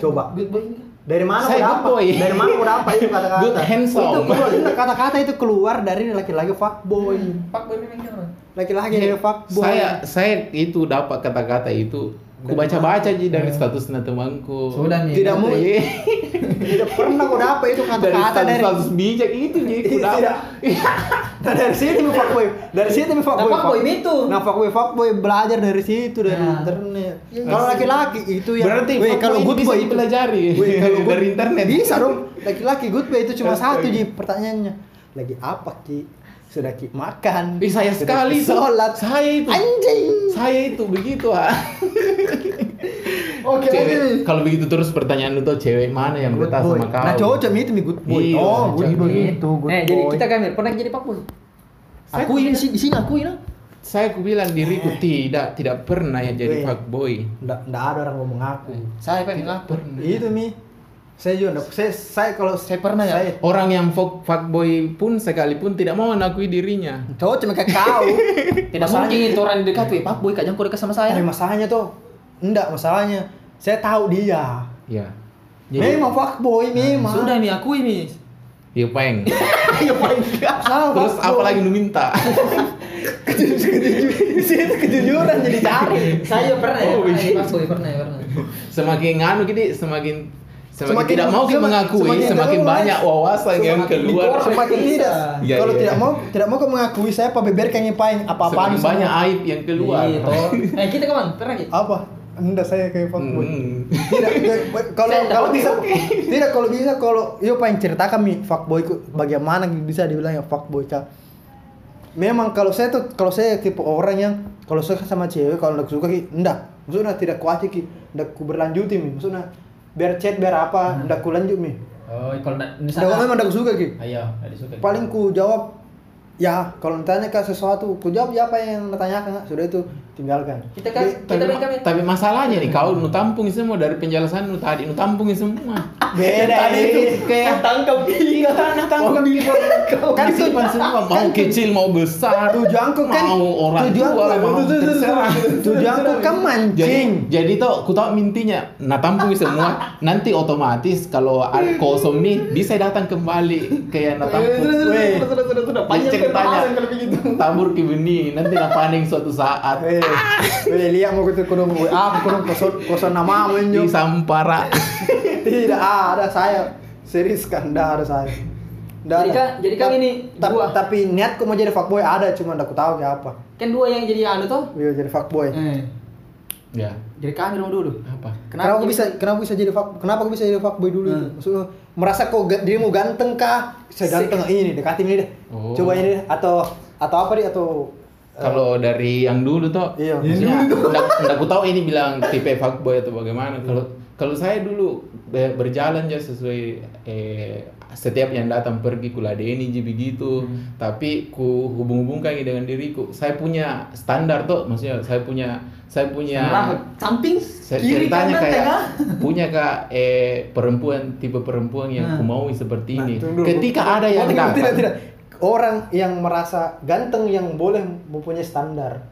S5: Coba.
S4: Good boy enggak?
S5: Dari mana
S6: Saya
S5: kau
S6: good
S5: dapat?
S6: boy.
S5: Dari mana kau dapat itu kata-kata?
S6: Good handsome.
S5: Itu keluar- itu kata-kata itu keluar dari laki-laki fuckboy.
S4: Hmm, Pak boy memang enggak.
S5: Laki-laki yang fuckboy.
S6: saya saya itu dapat kata-kata itu ku baca-baca aja
S5: Iya.
S6: dari statusnya temanku
S4: Sudah nih.
S5: Tidak
S4: Nanti.
S5: mungkin. Tidak pernah kau dapat itu
S6: dari
S5: Iya. kata-kata dari Iya.
S6: status-status bijak itu jadi ku
S5: Tidak.
S6: dapat
S5: Nah, dari sini mi fuckboy. Dari sini mi fuckboy.
S4: Nah, fuckboy itu.
S5: Nah, fuckboy fuckboy belajar dari situ dari
S4: Nah.
S5: internet. Kalau laki-laki itu yang
S6: Berarti
S5: Weh,
S6: fuckboy
S5: kalau
S6: ini
S5: good
S6: bisa
S5: boy
S6: dipelajari
S5: Weh, kalau good-
S6: dari internet.
S5: Bisa dong. Laki-laki good boy itu cuma
S6: Astaga.
S5: satu Ji pertanyaannya. Lagi apa Ki? Sudah Ki makan.
S6: Ih, saya
S5: Sudah
S6: sekali
S5: Ki
S6: tuh.
S5: sholat.
S6: Saya itu.
S5: Anjing.
S6: Saya itu begitu ah.
S5: Oke,
S6: Cewek-
S5: lanjut.
S6: Kalau begitu terus pertanyaan lu tuh cewek mana yang
S5: Good
S6: betah
S5: boy.
S6: sama kau?
S5: Nah, cowok cuma itu mi good boy.
S6: Iya,
S5: oh, good
S6: cowok
S5: boy
S6: cuma
S5: itu good
S4: Eh,
S5: boy.
S4: jadi kita kan pernah jadi pak boy.
S5: aku ini sih di sini aku
S4: ah.
S5: ini.
S6: Saya ku bilang diriku tidak tidak pernah ya jadi
S5: iya. Weh.
S6: fuckboy.
S5: Enggak enggak ada orang ngomong aku.
S4: Saya pengen lapar.
S5: Itu mi. Saya juga enggak saya saya kalau saya
S4: pernah ya?
S5: saya-
S6: Orang yang fuck- fuckboy pun sekalipun tidak mau mengakui dirinya.
S5: Cowok cuma kayak kau.
S4: Tidak mungkin itu orang yang dekat, weh. Pak boy kajang kau dekat sama saya.
S5: Tapi masalahnya tuh, enggak masalahnya. Saya tahu dia.
S6: Ya.
S5: memang fuckboy, memang.
S4: Sudah nih aku ini.
S6: Ya peng.
S5: ya paling enggak.
S6: Terus apalagi lu minta?
S5: Itu kejujuran jadi cari.
S4: Saya pernah ya.
S6: Oh,
S4: pernah
S6: iya.
S4: ya, Pak boy pernah ya pernah.
S6: semakin anu gini semakin semakin,
S5: Semakin-
S6: tidak mau kita
S5: semakin-
S6: mengakui
S5: semakin
S6: semakin,
S5: terus.
S6: banyak wawasan yang
S4: Semakin
S6: keluar
S4: dikorek.
S5: Semakin
S4: Bisa.
S5: tidak.
S6: Iya,
S5: Kalau
S6: iya.
S5: tidak mau, tidak mau kau mengakui saya apa beber kayak nyepain
S6: semakin
S5: apa-apaan. semua.
S6: banyak aib yang keluar
S4: Iya, toh. Eh, kita kapan? Pernah gitu.
S5: Apa? Enggak saya kayak fuckboy.
S6: Hmm.
S5: Tidak, ke- kalau
S4: Saya enggak
S5: kalau
S4: oke,
S5: bisa
S4: oke.
S5: tidak kalau bisa kalau yo pengen ceritakan mi fuckboy ku- bagaimana bisa dibilang ya fuckboy kak. Memang kalau saya tuh kalau saya tipe orang yang kalau suka sama cewek kalau nggak suka ki enggak. Maksudnya tidak ku acik ki, enggak ku berlanjuti mi. Maksudnya biar chat biar apa
S6: Hmm.
S5: enggak ku lanjut mi.
S4: Oh, kalau nak
S5: Enggak
S4: misalnya.
S5: memang enggak ku suka ki.
S4: Ayo, ada suka.
S5: Paling ku jawab ya kalau ditanya ke sesuatu ku jawab ya apa yang ditanyakan sudah itu tinggalkan.
S4: Kita kan kita
S6: tapi,
S4: main kami.
S6: tapi masalahnya nih kau nu tampung semua dari penjelasan nu tadi nu tampung semua
S5: Beda,
S6: tadi
S5: eh.
S6: itu kayak
S4: tangkap
S6: Iya, tanah
S5: Oh,
S6: tangkap kan simpan semua mau kecil mau besar
S5: tujuanku kan
S6: mau orang
S5: tujuanku
S6: tua mau terserah
S5: tujuanku kan mancing
S6: jadi, jadi tuh aku tahu mintinya nah tampung semua nanti otomatis kalau ada kosong nih bisa datang kembali kayak nah tampung
S5: Weh.
S6: Panjang ceritanya tabur ke benih nanti nah paning suatu saat
S5: eh eh, lihat mau kutu kurung gue ah kurung kosong kosong nama
S6: di
S5: menyo
S6: sampara
S5: tidak ada saya serius kan tidak ada saya Nggak
S4: Jadi
S5: ada.
S4: kan- jadi kan
S5: Ta-
S4: ini
S5: ta-
S4: gua.
S5: tapi niatku mau jadi fuckboy ada cuma aku tahu kayak apa
S4: Kan dua yang jadi anu toh.
S5: Iya jadi
S6: Hmm.
S5: fuckboy
S4: Eh,
S6: ya
S4: jadi kami dong dulu.
S6: apa
S5: Kenapa, aku
S4: jadi-
S5: bisa kenapa bisa jadi fuck kenapa aku bisa jadi fuckboy dulu itu?
S4: Hmm.
S5: Maksudnya merasa kok ga- dirimu ganteng kah? Saya ganteng ini dekatin ini deh.
S6: Oh.
S5: Coba ini deh atau atau apa dia atau
S6: Kalau dari yang dulu toh,
S5: Iya.
S6: maksudnya ndak- ndak ku tahu ini bilang tipe fuckboy atau bagaimana.
S5: Iya.
S6: Kalau kalau saya dulu be- berjalan aja sesuai eh, setiap yang datang pergi kuladeni ji begitu.
S5: Hmm.
S6: Tapi ku hubung-hubungkan dengan diriku. Saya punya standar toh, maksudnya saya punya saya punya
S4: Sebelah, samping,
S6: saya
S4: kiri,
S6: ceritanya
S4: kanan,
S6: kayak
S4: tengah.
S6: punya kak eh perempuan tipe perempuan yang
S4: Nah.
S6: ku mau seperti ini.
S5: tunggu Hmm. dulu.
S6: Ketika ada
S5: Oh,
S6: yang
S5: tidak,
S6: datang,
S5: tidak, tidak. Orang yang merasa ganteng yang boleh mempunyai standar.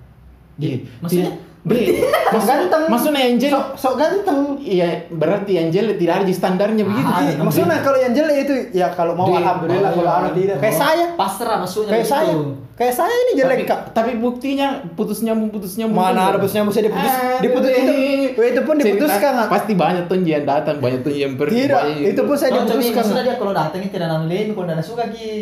S6: Iya.
S4: Maksudnya?
S6: Berarti maksudnya,
S5: Ganteng.
S6: maksudnya Angel
S5: Sok, sok ganteng.
S6: Iya, berarti Angel tidak ada di standarnya begitu.
S4: Ah,
S5: Iya,
S4: iya.
S5: maksudnya kalau yang jelek itu ya kalau mau
S6: Dia-
S5: alhamdulillah kalau
S6: iya.
S5: anak tidak kayak
S6: Oh.
S5: saya,
S4: pasrah maksudnya
S5: kayak saya, kayak saya ini jelek
S6: tapi,
S5: kak.
S6: tapi buktinya putus nyambung putus nyambung. Iya.
S5: Mana ada bosnya bisa diputus, diputus itu, itu pun diputuskan Kak.
S6: Pasti banyak tuh yang datang, banyak tuh yang pergi.
S5: Tidak,
S6: banyak-
S5: itu pun saya
S4: Saya
S5: diputuskan.
S4: maksudnya dia kalau datang ini tidak nanggilin, kalau tidak suka ki.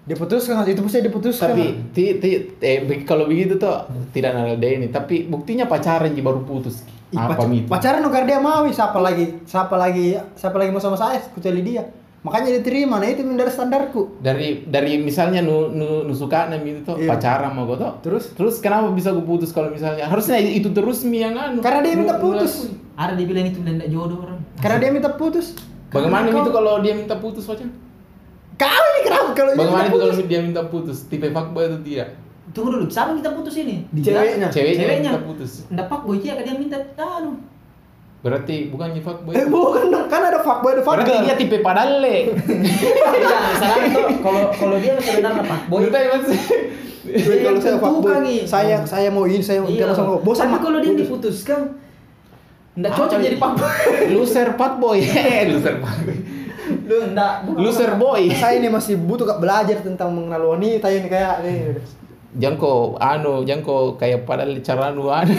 S5: Diputuskan, Kak. itu pun saya diputuskan.
S6: tapi
S5: Kak.
S6: ti, ti, eh, be- kalau begitu tuh tidak ada ini. Tapi buktinya pacaran ji baru putus.
S5: Ih,
S6: Apa gitu?
S5: pac-
S6: itu?
S5: Pacaran nuker dia mau, siapa lagi, siapa lagi, siapa lagi mau sama saya, kecuali dia. Makanya diterima, nah itu dari standarku.
S6: dari dari misalnya nu nu, nu suka nih gitu tuh,
S5: Iya.
S6: pacaran mau tuh
S5: Terus?
S6: terus kenapa bisa gue putus kalau misalnya harusnya itu terus mi yang anu
S5: Karena dia
S6: Nu-
S5: minta
S6: nu-
S5: putus.
S4: Ada dibilang itu tidak jodoh orang.
S5: Karena dia minta putus.
S6: Bagaimana
S5: Karena
S6: itu
S5: kau-
S6: kalau dia minta putus pacar?
S5: Kau ini kenapa kalau ini
S6: Bagaimana
S5: minta
S6: itu kalau
S5: putus?
S6: dia minta putus? Tipe fuckboy atau tidak?
S4: Tunggu dulu, siapa yang kita putus ini?
S5: Ceweknya.
S6: Ceweknya, yang
S4: Ceweknya.
S6: minta putus.
S4: Tidak pak boy dia, dia minta, aduh.
S6: Berarti bukannya fuckboy.
S5: Eh bukan dong, kan ada fuckboy, ada
S6: Berarti
S5: fuckgirl.
S6: dia tipe padale.
S4: Iya, misalnya itu kalau kalau dia sebenarnya pak boy.
S6: Berarti maksudnya
S5: Gue kalau saya
S4: Tentukan,
S5: fuckboy,
S4: iya.
S5: saya saya mau ini, saya mau
S4: Iya.
S5: langsung mau.
S4: Tapi
S5: Bosan Mak.
S4: kalau dia
S5: Putus.
S4: diputuskan, tidak cocok jadi pak boy.
S6: loser fuckboy.
S5: Iya,
S6: loser fuckboy.
S4: Lu tidak.
S6: Loser boy.
S5: saya ini masih butuh Kak, belajar tentang mengenal wanita ini kayak nih.
S6: Jangko anu, jangko kayak padale cara anu anu.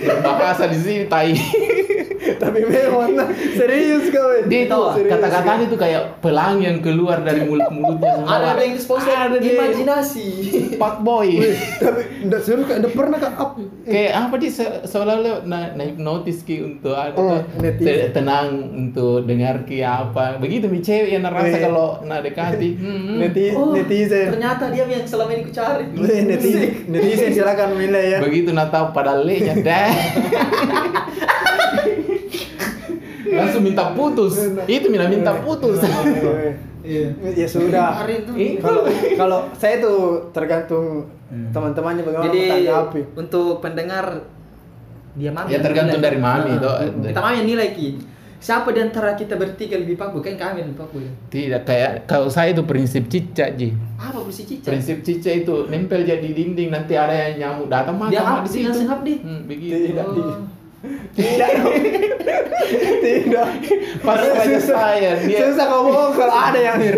S6: Berbahasa di sini tai.
S5: Tapi memang nah, serius kau. ini.
S6: Dia itu
S5: Serius,
S6: kata-katanya itu kayak pelangi yang keluar dari mulut-mulutnya semua.
S4: Ada ada yang sponsor.
S6: Ada dia.
S4: Imajinasi.
S6: fuckboy.
S5: Wih, tapi enggak seru kak, enggak pernah kak up.
S6: kayak apa dia se- seolah-olah na, na hipnotis ki untuk
S5: Oh,
S6: ada
S5: hipnotis.
S6: tenang untuk dengar ki apa begitu mi cewek yang ngerasa
S5: Wih.
S6: kalau na dekati hmm,
S5: Neti,
S4: Oh,
S5: netizen.
S4: ternyata dia yang selama ini ku cari.
S5: Wih, netizen, netizen silakan nilai ya.
S6: begitu na tahu pada lenya dah langsung minta putus itu mina minta putus
S5: Wih,
S4: Iya.
S5: Ya sudah.
S4: Hari itu.
S6: Ih,
S5: Kalau kalau saya tuh tergantung teman-temannya bagaimana
S4: Jadi
S5: menanggapi.
S4: untuk pendengar dia mami.
S6: Ya, tergantung
S4: nilai.
S6: dari
S4: Nah,
S6: mami, toh.
S4: Kita mami yang nilai ki. Siapa di antara kita bertiga lebih pak boy? Kan kami lebih pak boy.
S6: tidak kayak kalau saya itu prinsip cicak ji
S4: Apa kursi cica?
S6: prinsip cicak itu nempel jadi dinding nanti ada yang nyamuk datang
S4: Dia hap,
S6: makan di
S4: dia
S6: situ
S4: langsung hap di.
S6: Hmm, begitu
S5: Tidak,
S4: Oh.
S5: Tidak. dong. Tidak.
S6: Pas aja saya dia
S5: Susah kau bohong kalau ada yang Hir.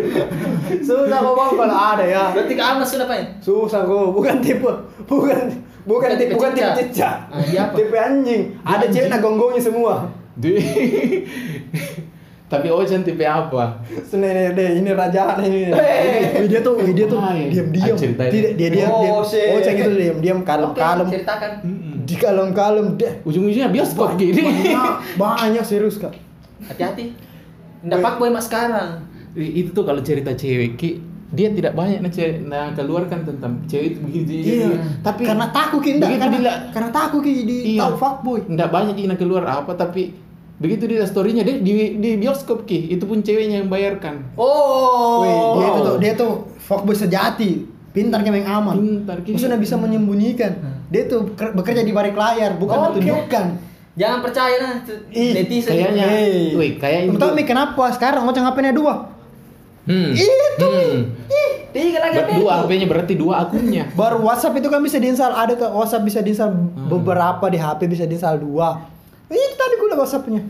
S5: Susah kau bohong kalau ada ya.
S4: Berarti kami masuk apa ya?
S5: Susah kau bukan tipe bukan bukan
S4: Bukan
S5: tipe
S4: tipe
S5: bukan tipe
S4: cicak.
S5: cicak.
S4: Ah, iya apa?
S5: Tipe anjing. Ada cewek nak gonggongnya semua.
S6: Di- Tapi Ocean tipe apa?
S5: Sebenarnya deh ini rajaan ini. Wih, Dia tuh wih, dia tuh
S6: Hai. Ah,
S5: diam-diam.
S6: ceritain.
S5: Tidak dia diam diam.
S4: Oh, shit.
S5: Oh, ceng itu diam-diam kalem-kalem.
S4: Oke, ceritakan.
S5: Di kalem-kalem deh.
S6: Ujung-ujungnya bioskop gini.
S5: Banyak, banyak serius kak.
S4: Hati-hati. Ndak pak boy mas sekarang.
S6: Itu tuh kalau cerita cewek Ki, dia tidak banyak nah, ce- nah keluarkan tentang cewek itu begini.
S5: Iya.
S6: Tapi
S5: karena takut kinda,
S6: begitu
S5: karena,
S6: dia-
S5: karena takut ki di
S6: Iya.
S5: tahu fuckboy.
S6: tidak banyak dia keluar apa tapi begitu dia storynya dia di, di bioskop Ki, itu pun ceweknya yang bayarkan.
S5: Weh, dia itu
S4: Oh.
S5: tuh, dia tuh fuckboy sejati, pintar kayak yang aman.
S6: Pintar, Ki.
S5: Maksudnya bisa menyembunyikan. Dia tuh ker- bekerja di balik layar, bukan
S4: Oke.
S5: ditunjukkan.
S4: Jangan percaya nah itu
S5: Ih,
S4: netizen.
S6: Kayaknya,
S5: Hey.
S6: wih, kayaknya
S5: Kamu tahu
S6: juga-
S5: Mi, kenapa sekarang ngoceng HP-nya dua?
S6: Hmm.
S5: Itu,
S6: Hmm.
S4: Tiga lagi
S6: Ber- Dua HP-nya berarti dua akunnya.
S5: Baru WhatsApp itu kan bisa diinstal, ada tuh WhatsApp bisa diinstal
S6: Hmm.
S5: beberapa di HP bisa diinstal dua. Iya, Itu tadi gue WhatsApp-nya.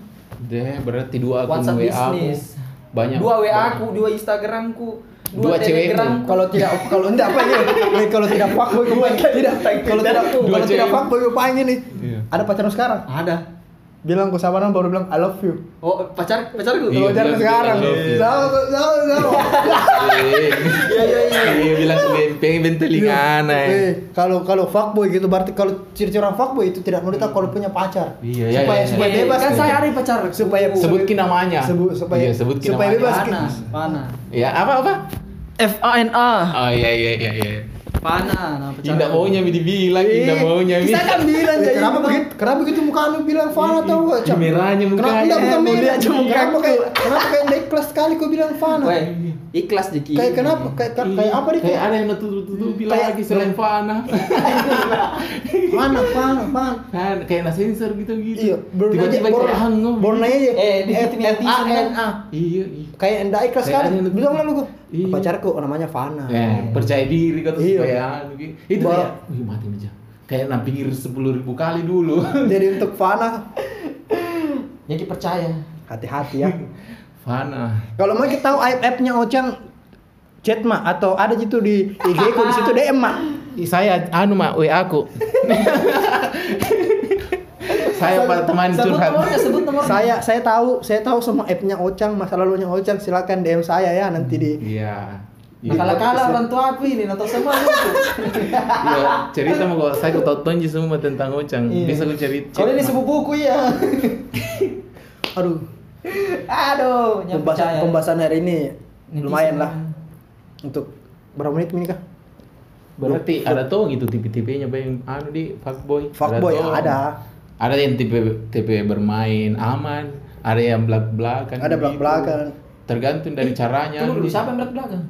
S6: Deh, berarti dua akun
S4: WhatsApp
S6: WA. aku.
S4: bisnis.
S6: Banyak.
S4: Dua WA
S6: banyak.
S4: ku, dua Instagramku,
S6: Dua
S4: dua,
S6: cewekmu.
S4: Telegramku.
S5: Kalau tidak kalau enggak apa ini? Weh, kalau tidak fuckboy gue tidak. Kalau tidak
S6: Dua
S5: kalau tidak
S6: cewek.
S5: fuckboy gue pengen nih.
S6: Iya.
S5: Ada pacar lu sekarang?
S4: ada.
S5: bilang ke Sabana baru bilang I love you.
S4: Oh, pacar pacarku.
S6: Iya, bilang
S5: Kalau jalan
S6: dia
S5: sekarang,
S6: I love you.
S5: sama sama sama.
S6: Iya iya iya. Iya bilang bempeng benteling
S5: Eh,
S6: aneh.
S5: Kalau kalau fuckboy gitu berarti kalau ciri-ciri orang fuckboy itu tidak menurut aku kalau punya pacar.
S6: Iya, iya,
S5: supaya
S6: iya,
S5: supaya
S6: iya.
S5: bebas
S4: kan saya ada pacar.
S5: Supaya- kan?
S6: Sebutkin namanya.
S5: Sebu- supaya-
S6: Iya, sebutkin
S5: supaya
S6: namanya.
S5: bebas.
S4: mana? Mana?
S6: Ya, apa apa?
S4: F A N A.
S6: Oh iya iya iya iya.
S4: Fana, nah pacaran.
S6: Tidak maunya mi dibilang, tidak maunya mi.
S4: Bisa kan bilang
S5: Eh,
S4: jadi.
S5: kenapa begitu? Kenapa begitu muka lu bilang Fana tau gak? Cak?
S6: Merahnya
S5: Kenapa
S6: mukanya.
S5: enggak bukan
S4: Mau
S5: merah?
S4: lihat Eh, aja muka
S5: Kenapa
S4: aku.
S5: kayak kenapa kayak necklace kali kau bilang Fana?
S4: Weh, ikhlas Jeki.
S5: Kayak kenapa? Kayak kayak- kayak apa nih?
S6: Kayak
S5: Kayak
S6: ada yang nutup-nutupi
S5: Kayak-
S6: lagi selain Fana.
S5: Fana, Fana, Fana.
S6: Kan kayak ada sensor gitu-gitu.
S5: Iya, baru nanya,
S6: gitu. Tiba-tiba
S5: baru
S6: kayak hangoh.
S5: baru nanya aja.
S4: Eh, di-
S5: F
S4: di-
S5: A N A.
S6: Iya, iya.
S5: ya? Kayak enggak ikhlas
S6: Kayak
S5: kali.
S6: ada yang-
S5: Bilang lalu gua.
S6: Iya.
S5: Pacarku oh, namanya Fana.
S6: Eh, percaya diri kata
S5: Iya.
S6: supaya anu gitu. Itu
S5: Ba-
S6: kayak, wih mati aja. Kayak nampingir sepuluh ribu kali dulu.
S5: Jadi untuk Fana
S4: Jeki percaya.
S5: hati-hati ya.
S6: Fana.
S5: Kalau mau kita tahu aib-aibnya Ocang chat mah atau ada gitu di IG ku di situ DM mah.
S6: Ih, saya anu mak WA aku. saya pak teman
S4: Sebut
S6: curhat.
S4: nomornya, sebut nomornya.
S5: Saya saya tahu, saya tahu semua aibnya Ocang, masa lalunya Ocang silakan DM saya ya nanti di
S6: Iya.
S4: Nah, kalau kalah orang tua aku ini nonton semua
S6: Iya, cerita mau kalau saya ketonton semua tentang Ocang.
S5: Iya.
S6: Bisa aku cerita.
S4: Kalau ini sepupuku ya.
S5: aduh,
S4: Aduh, jangan percaya.
S5: pembahasan pembahasan hari ini
S4: Netizen.
S5: lumayan lah untuk berapa menit ini kah?
S6: Berarti ada tuh gitu tipe-tipenya apa yang anu di fuckboy.
S5: Fuckboy,
S6: tong.
S5: ada.
S6: Ada yang tipe tipe bermain aman, ada yang belak belakan.
S5: Ada belak-belakan.
S6: gitu. Tergantung dari caranya.
S4: Tunggu dulu, siapa yang berat belakang?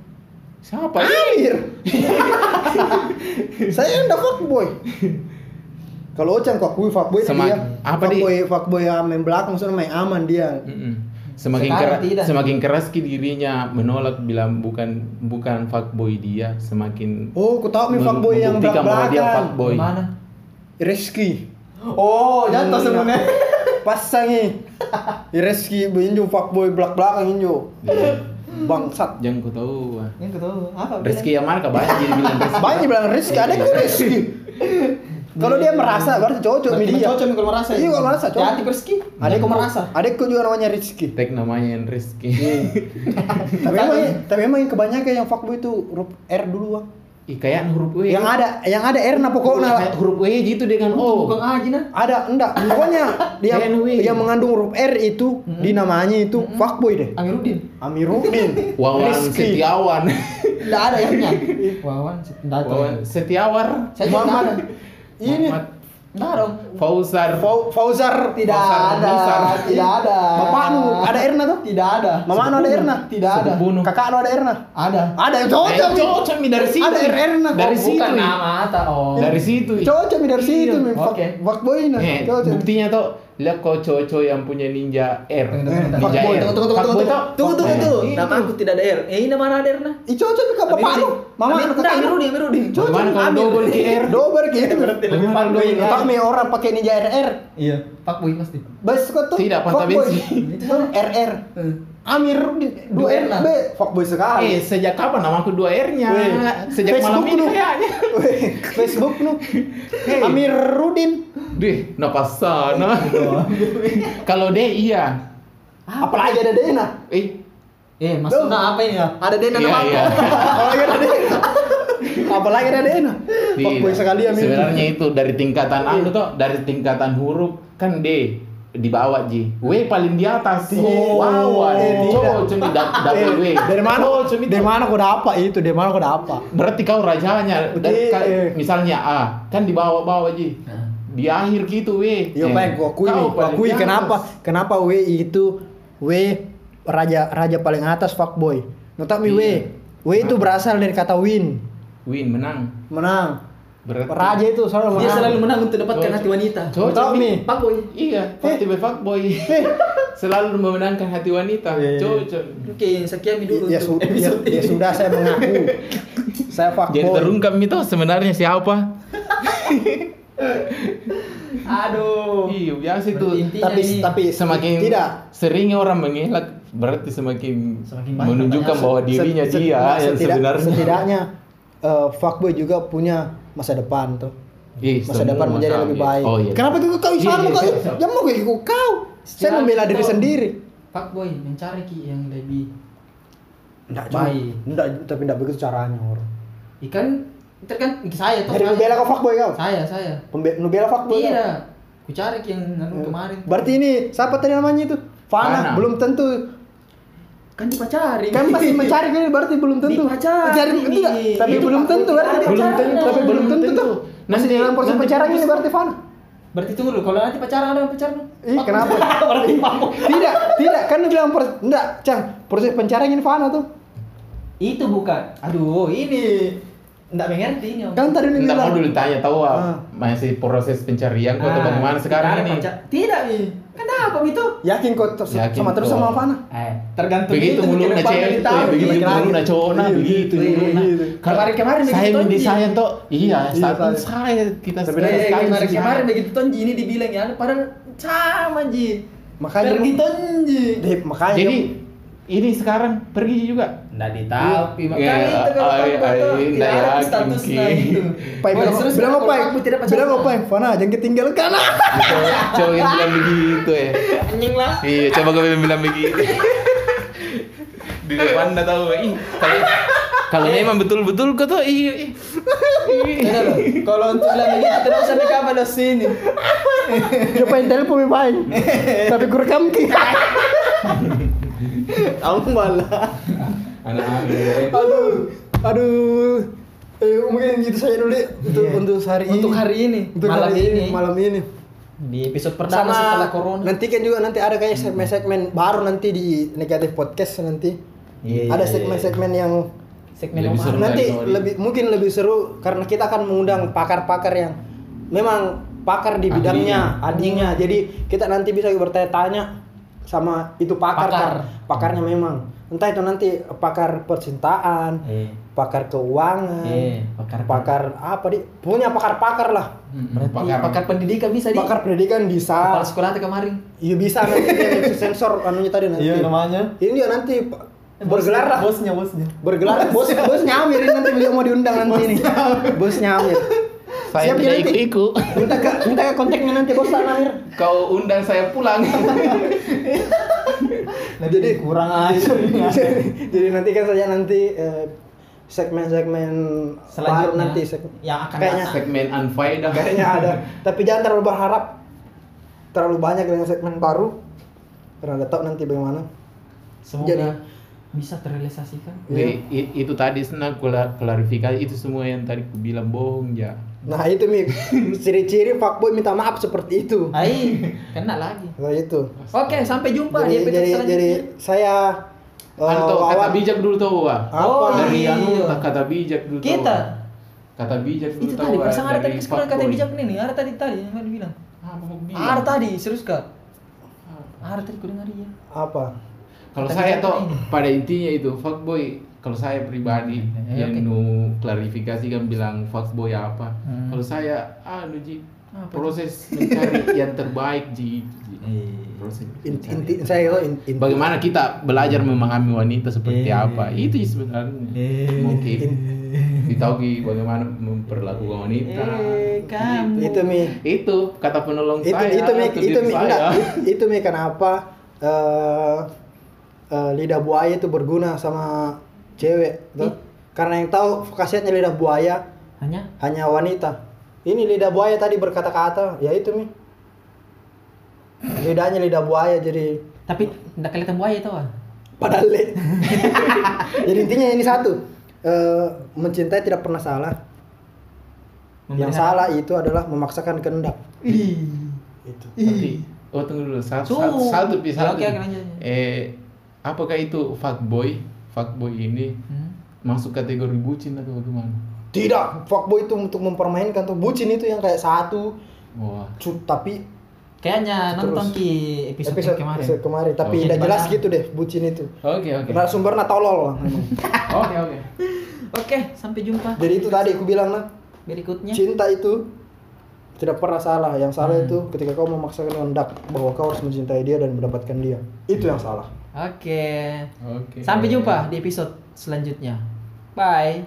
S6: Siapa?
S5: Amir. saya enggak fuckboy. Kalau Ocang kok kui fuckboy
S6: Sama-
S5: dia.
S6: apa di-
S5: fuckboy, fuckboy yang main belakang maksudnya main aman dia.
S6: Mm-mm. Semakin
S4: Sekarang
S6: keras,
S4: tidak.
S6: semakin keras ki dirinya menolak bilang bukan bukan fuckboy dia, semakin
S5: Oh, ku tahu nih
S6: men-
S5: fuckboy yang
S6: membuktikan bahwa dia
S5: belak-belakan.
S6: fuckboy.
S4: Mana?
S5: Reski.
S4: Oh, jatuh
S5: Hmm.
S4: semuanya.
S5: Pasangi. Reski injo fuckboy belak-belakan injo.
S6: Iya.
S5: Bangsat.
S6: Jangan kau tahu. ah.
S4: Yang ketemu apa?
S6: Rezeki yang mana kabar jadi bilang rezeki.
S5: Banyak bilang Reski, ada kok Reski. Kalau dia merasa berarti cocok
S4: Berarti
S5: nih dia.
S4: cocok nih kalau merasa. ya?
S5: Iya, kalau merasa, cocok.
S4: Ya, hati rezeki.
S5: Ada
S4: kok merasa.
S5: Adekku juga namanya Rizky.
S6: Tek namanya yang rezeki.
S4: Hmm.
S5: tapi emang tapi emang yang kebanyakan yang fuckboy itu huruf R dulu, Bang.
S6: Ih kayak huruf
S4: Iya.
S6: W.
S5: Yang ada nah. yang ada R na pokoknya lah.
S6: Kayak huruf W gitu dengan O.
S4: Bukan aja nah.
S5: Ada enggak pokoknya dia
S4: Iya,
S6: NW.
S5: yang mengandung huruf R itu di namanya itu fuckboy deh.
S4: Amiruddin.
S5: Amiruddin.
S6: Wawan Setiawan.
S4: Tidak ada yangnya. Wawan, tidak
S6: Wawan Setiawar.
S4: Saya juga nggak ada.
S5: Muhammad. Ini
S6: Muhammad
S4: Nggak dong.
S6: Fauzar.
S5: Fau- Fauzar
S4: Tidak
S6: Pasar
S4: ada.
S6: Besar.
S4: Tidak ada.
S5: Bapak lu ada R na tuh?
S4: Tidak ada.
S5: Mama lu ada R na? Tidak
S6: ada. Sebunuh.
S5: Kakak lu ada R na?
S4: Ada.
S5: Ada
S6: Eh,
S5: cocok. Mi.
S6: cocok mi dari situ.
S5: Ada RR nah.
S6: Dari
S4: Oh,
S6: situ.
S4: Bukan
S6: i.
S4: nama Ata. Oh.
S6: Dari situ. i.
S5: Cocok mi dari situ mi.
S4: Oke.
S5: Fuck- Fuckboy nah.
S6: Eh,
S5: Cocok.
S6: buktinya tuh lihat kok cowok yang punya ninja R. Ninja
S5: Fuckboy.
S4: Tunggu, tunggu, tunggu,
S6: R.
S4: tunggu,
S6: Fuckboy tuh.
S4: tunggu, tunggu,
S6: Fuckboy.
S4: tunggu.
S6: Itu.
S4: Nama aku tidak ada R. Eh, ini mana ada R nah?
S5: Ih cocok mi ke bapak lu. Mama lu
S4: kakak
S5: kakak lu.
S4: Amiruddin, Amiruddin.
S5: Cocok.
S6: Bagaimana kalau double Eh, ki R?
S5: Dober gitu.
S6: Bagaimana kalau double ki R?
S5: Tetap mi orang pakai ninja RR.
S4: Iya, Pak Boy pasti.
S5: Bas kok tuh.
S6: Tidak, Pantai
S5: fuckboy.
S6: Bensin.
S5: Itu RR. Amir dua
S4: Dua
S5: R
S4: R lah.
S5: B fuckboy
S6: Eh,
S5: sekali.
S6: sejak kapan nama aku dua R-nya?
S5: Weh,
S6: Sejak malam
S5: Eh, Facebook
S6: ini
S5: lu.
S6: kayaknya.
S5: Weh, Facebook lu. Amir Rudin.
S6: Dih, napas sana. Kalau D iya.
S5: Apalagi ada Dena.
S6: Eh,
S4: Eh, maksudnya apa ini ya? Ada Dena
S6: iya
S4: nama aku.
S6: iya.
S5: Apalagi ada Dena. Apalagi ada Dena. Fuckboy
S6: Tidak.
S5: sekali Amir.
S6: Iya. Sebenarnya itu dari tingkatan anu toh, dari tingkatan huruf kan D di bawah Ji. W paling di atas.
S5: Oh,
S6: wow.
S5: eh, tidak.
S6: Oh, cumi da- double W.
S5: Eh, dari mana?
S6: Oh, cumi
S5: dari mana kau dapat itu? Dari mana kau dapat?
S6: Berarti kau rajanya. Dari,
S5: Tidak.
S6: ka- misalnya A kan di bawah-bawah Ji. Di akhir gitu W. Eh,
S5: Yo, Nah. Iya, Pak, gua akui,
S6: kau
S5: nih, gua
S6: paling
S5: akui
S6: di atas.
S5: kenapa? Kenapa W itu W raja raja paling atas fuckboy. Notami W.
S6: Iya.
S5: W itu berasal dari kata win,
S6: Win menang.
S5: menang.
S6: Berarti.
S5: Raja itu selalu menang.
S4: Dia selalu menang untuk dapatkan
S6: Cocok.
S4: hati wanita.
S6: Cocok,
S5: Notami.
S6: Mi.
S4: Pak Boy.
S6: Iya, pasti be fuckboy.
S5: Eh,
S6: Selalu memenangkan hati wanita.
S5: Iya, iya.
S6: Cocok.
S4: Oke, sekian video
S5: ya, su-
S4: untuk
S5: ya,
S4: episode
S5: ya
S4: ini.
S5: sudah saya mengaku. saya fuckboy.
S6: Jadi terungkap itu sebenarnya siapa?
S4: Aduh.
S6: Iya, biasa itu.
S4: Berarti intinya
S5: Tapi
S4: ini-
S5: tapi
S6: semakin
S5: tidak
S6: sering orang mengelak berarti semakin,
S4: Semakin banyak
S6: menunjukkan
S4: pertanyaan.
S6: bahwa dirinya
S5: Se- se-
S6: dia
S5: nah,
S6: yang
S5: setidak-
S6: sebenarnya
S5: setidaknya eh, fuckboy juga punya masa depan tuh.
S6: Ih,
S5: masa
S6: semua
S5: depan menjadi
S6: sama.
S5: lebih baik. Kan
S6: Oh iya.
S5: Kenapa kau kau
S6: Iya,
S5: sama
S6: iya,
S5: kau?
S6: iya, iya.
S5: Ya mau kau kau. Saya
S4: Istilahnya
S5: membela diri
S4: kau-
S5: sendiri.
S4: Pak Boy mencari ki yang lebih
S5: Enggak,
S4: Baik.
S5: Enggak, tapi enggak begitu caranya, orang.
S4: ikan itu kan saya toh
S5: Jadi
S4: saya.
S5: membela kau fuckboy kau.
S4: saya saya
S5: Pembe- Membela fuckboy. kau?
S4: tidak ku cari
S5: Eh.
S4: ki yang anu kemarin
S5: Berarti ini siapa tadi namanya itu?
S6: Fana.
S5: Fana, belum tentu
S4: kan dipacari
S5: kan pasti mencari kan berarti belum tentu
S4: Dipacari.
S5: Mencari, tidak tapi
S4: Itu
S5: belum
S4: Pak,
S5: tentu berarti
S4: ada
S6: Belum
S5: pacaran.
S6: tentu,
S5: tapi belum tentu tuh masih
S6: Nanti-
S5: dalam proses
S6: nanti
S5: pacaran ini
S6: putus.
S5: berarti Fana
S4: berarti tunggu dulu kalau nanti pacaran ada pacaran
S5: Ih, kenapa?
S4: berarti mampu
S5: tidak tidak kan lu bilang proses enggak cang proses pencarian ini Fana tuh
S4: itu bukan aduh ini nggak mengerti ini om
S5: kan tadi lu
S6: Entah mau
S5: bilang
S6: dulu tanya tahu ah,
S5: Ah.
S6: masih proses pencarian kok atau
S4: Ah,
S6: bagaimana sekarang
S4: tidak ada
S6: ini.
S4: pacar- tidak Mi. kenapa itu
S5: yakin kok terus-
S6: Yakin
S5: sama terus
S6: kok.
S5: sama Fana
S4: eh tergantung
S6: gitu. Begitu
S4: itu,
S6: mulu
S4: ke
S6: na
S4: depan
S6: cewek
S4: dari
S6: itu,
S4: tahun,
S6: ya, begitu
S4: Mi.
S6: mulu na cowok na
S5: Iya,
S6: begitu.
S5: iya,
S6: mulu na.
S5: iya.
S6: Nah, Kalau
S4: Kemarin-kemarin
S6: saya
S4: begitu,
S6: menjadi
S4: Ji.
S6: saya toh, iya,
S5: Iya,
S6: tapi
S5: saya.
S6: saya kita
S5: Tapi
S6: sekali
S4: Eh,
S6: sekali
S4: kemarin
S6: sih,
S4: kemarin
S6: saya.
S4: begitu Tonji ini dibilang ya, padahal sama Ji.
S5: Makanya
S4: pergi
S5: lu-
S4: Tonji.
S5: Deh, makanya
S6: Jadi ini sekarang pergi juga.
S4: Nggak ditapi, makanya
S6: Iya,
S4: itu kalau
S6: ai-
S4: tanpa tuh
S6: ai,
S4: tidak
S6: nggak
S4: ada
S6: yakin,
S4: statusnya
S6: Ki.
S4: gitu.
S5: Pai,
S4: Boleh,
S5: bilang,
S4: terus
S5: bilang
S4: kalau
S5: apa? ya?
S4: aku tidak pacaran.
S5: Bilang apa? ya? Fana, jangan ketinggalan kan? kanan.
S6: Cowok cowok yang bilang begitu ya.
S4: Anjing lah.
S6: Iya, coba gue bilang begitu. Di depan nggak tahu, eh. ih. Kalau kalau memang betul-betul kok tuh, iya, ih, ih.
S4: Ini loh, kalau untuk bilang begitu terus sampai kapan di sini?
S5: Dia pengen telepon mi pain. Tapi gue rekam ki. Ambal.
S6: Anak-anak.
S5: Aduh, aduh. Eh, mungkin itu saja dulu ya, untuk
S4: Iya.
S5: untuk hari ini.
S4: Untuk hari ini,
S5: Untuk
S4: malam
S5: hari ini,
S4: ini.
S5: malam ini.
S4: Di episode pertama setelah corona.
S5: Nanti kan juga nanti ada kayak segmen-segmen baru nanti di negatif podcast nanti.
S4: Iya,
S5: ada
S4: iya,
S5: segmen-segmen yang
S4: Segmen
S6: Lebih
S4: Omar.
S6: seru.
S5: nanti
S6: dari Nori.
S5: lebih mungkin lebih seru karena kita akan mengundang pakar-pakar yang memang pakar di bidangnya, ahlinya.
S4: Iya.
S5: Jadi kita nanti bisa bertanya-tanya sama itu pakar,
S4: Pakar.
S5: kan. pakarnya memang. Entah itu nanti pakar percintaan,
S4: Eh,
S5: pakar keuangan,
S4: eh, pakar
S5: pakar apa di punya pakar-pakar lah.
S6: Hmm,
S4: Berarti Iya, pakar, pendidikan bisa di.
S5: Pakar
S4: Kepala
S5: pendidikan bisa.
S4: sekolah tuh kemarin.
S5: Iya bisa nanti yang sensor anunya tadi nanti.
S1: Iya, namanya Eh,
S5: Ini dia nanti bergelar lah
S1: bosnya bosnya
S5: bergelar bos bos nyamir ini nanti beliau mau diundang nanti nih bos nyamir
S6: Saya tidak
S5: Siap, Ki, nanti.
S6: ikut-ikut.
S5: minta ke minta ke kontaknya nanti bos lah nyamir
S6: Kau undang saya pulang.
S5: jadi
S1: kurang aja
S5: jadi, jadi nanti kan saja nanti eh, segmen-segmen baru
S4: Selanjutnya,
S5: nanti seg-
S4: yang akan
S5: kayaknya
S6: Segmen unfaedah.
S5: kayaknya ada tapi jangan terlalu berharap terlalu banyak dengan segmen baru karena nggak tahu nanti bagaimana
S4: Semoga
S5: Jadi-
S4: bisa terrealisasikan.
S6: Jadi, i- itu tadi senang klarifikasi itu semua yang tadi ku bilang bohong ya.
S5: nah itu mi ciri-ciri fuckboy minta maaf seperti itu
S4: Ai, kena lagi.
S5: nah itu
S4: Oke, sampai jumpa di
S5: jadi
S4: episode
S5: jadi, jadi
S4: selanjutnya.
S5: saya eh,
S6: Anto Anu kata
S5: Wawan
S6: bijak dulu tau Wa.
S5: apa
S4: Oh,
S6: Dari
S4: iya.
S6: anu kata bijak dulu. tau, Wa.
S4: Kita.
S6: Kata bijak dulu
S4: Itu
S6: tau,
S4: tadi,
S6: Wa,
S4: pasang ada
S6: dari
S4: tadi sekarang
S6: Fuckboy.
S4: kata bijak nih nih, ada tadi tadi yang bilang.
S6: Apa ku bilang?
S4: Ada tadi, serius kak? Ada tadi ku dengar iya.
S5: apa
S6: Kalau
S4: Kata
S6: saya
S4: bijak
S6: toh
S4: ini.
S6: pada intinya itu fuckboy kalau saya pribadi
S4: Ya,
S6: yang
S4: oke.
S6: nu klarifikasi kan bilang fuckboy apa. Kalau saya anu Ji
S4: Apa itu?
S6: proses mencari yang terbaik Ji. Ji. Proses
S5: inti,
S6: mencari
S5: inti saya itu inti, inti-
S6: Iya. bagaimana kita belajar memahami wanita
S4: Eh.
S6: seperti apa itu sebenarnya mungkin ditahui bagaimana memperlakukan wanita
S4: Eh, kamu.
S5: itu mi
S6: itu kata penolong
S5: itu
S6: saya
S5: itu mi
S6: diri
S5: itu mi
S6: saya.
S5: enggak, itu- itu mi kenapa eh, eh, lidah buaya itu berguna sama cewek tuh. karena yang tahu khasiatnya lidah buaya
S4: Hanya
S5: hanya wanita ini lidah buaya tadi berkata-kata ya itu mi lidahnya lidah buaya jadi
S4: tapi tidak kelihatan buaya itu ah.
S5: padahal le. jadi intinya ini satu eh, mencintai tidak pernah salah yang salah itu adalah memaksakan kehendak itu
S6: Tapi, oh tunggu dulu satu
S4: Tuh.
S6: satu satu pi,
S4: Ya,
S6: satu.
S4: oke, oke, lanjut, lanjut.
S6: eh apakah itu fuckboy fuckboy ini
S5: Hmm.
S6: masuk kategori bucin atau bagaimana
S5: Tidak, fuckboy itu untuk mempermainkan tuh bucin itu yang kayak satu
S6: wah
S5: cu- tapi
S4: Kayaknya
S5: Terus.
S4: nonton ki episode, kemarin. Oh, iya.
S5: episode kemarin tapi
S6: Oke.
S5: udah jelas
S4: Banyak.
S5: gitu deh bucin itu.
S6: oke oke
S5: Narasumber nah tolol lah memang.
S6: oke oke
S4: Oke, sampai jumpa
S5: Jadi itu tadi aku bilang nah,
S4: berikutnya.
S5: cinta itu tidak pernah salah. Yang salah itu ketika kau memaksakan kehendak bahwa kau harus mencintai dia dan mendapatkan dia. Itu yang salah.
S4: Oke.
S6: oke
S4: Sampai jumpa di episode selanjutnya. Bye.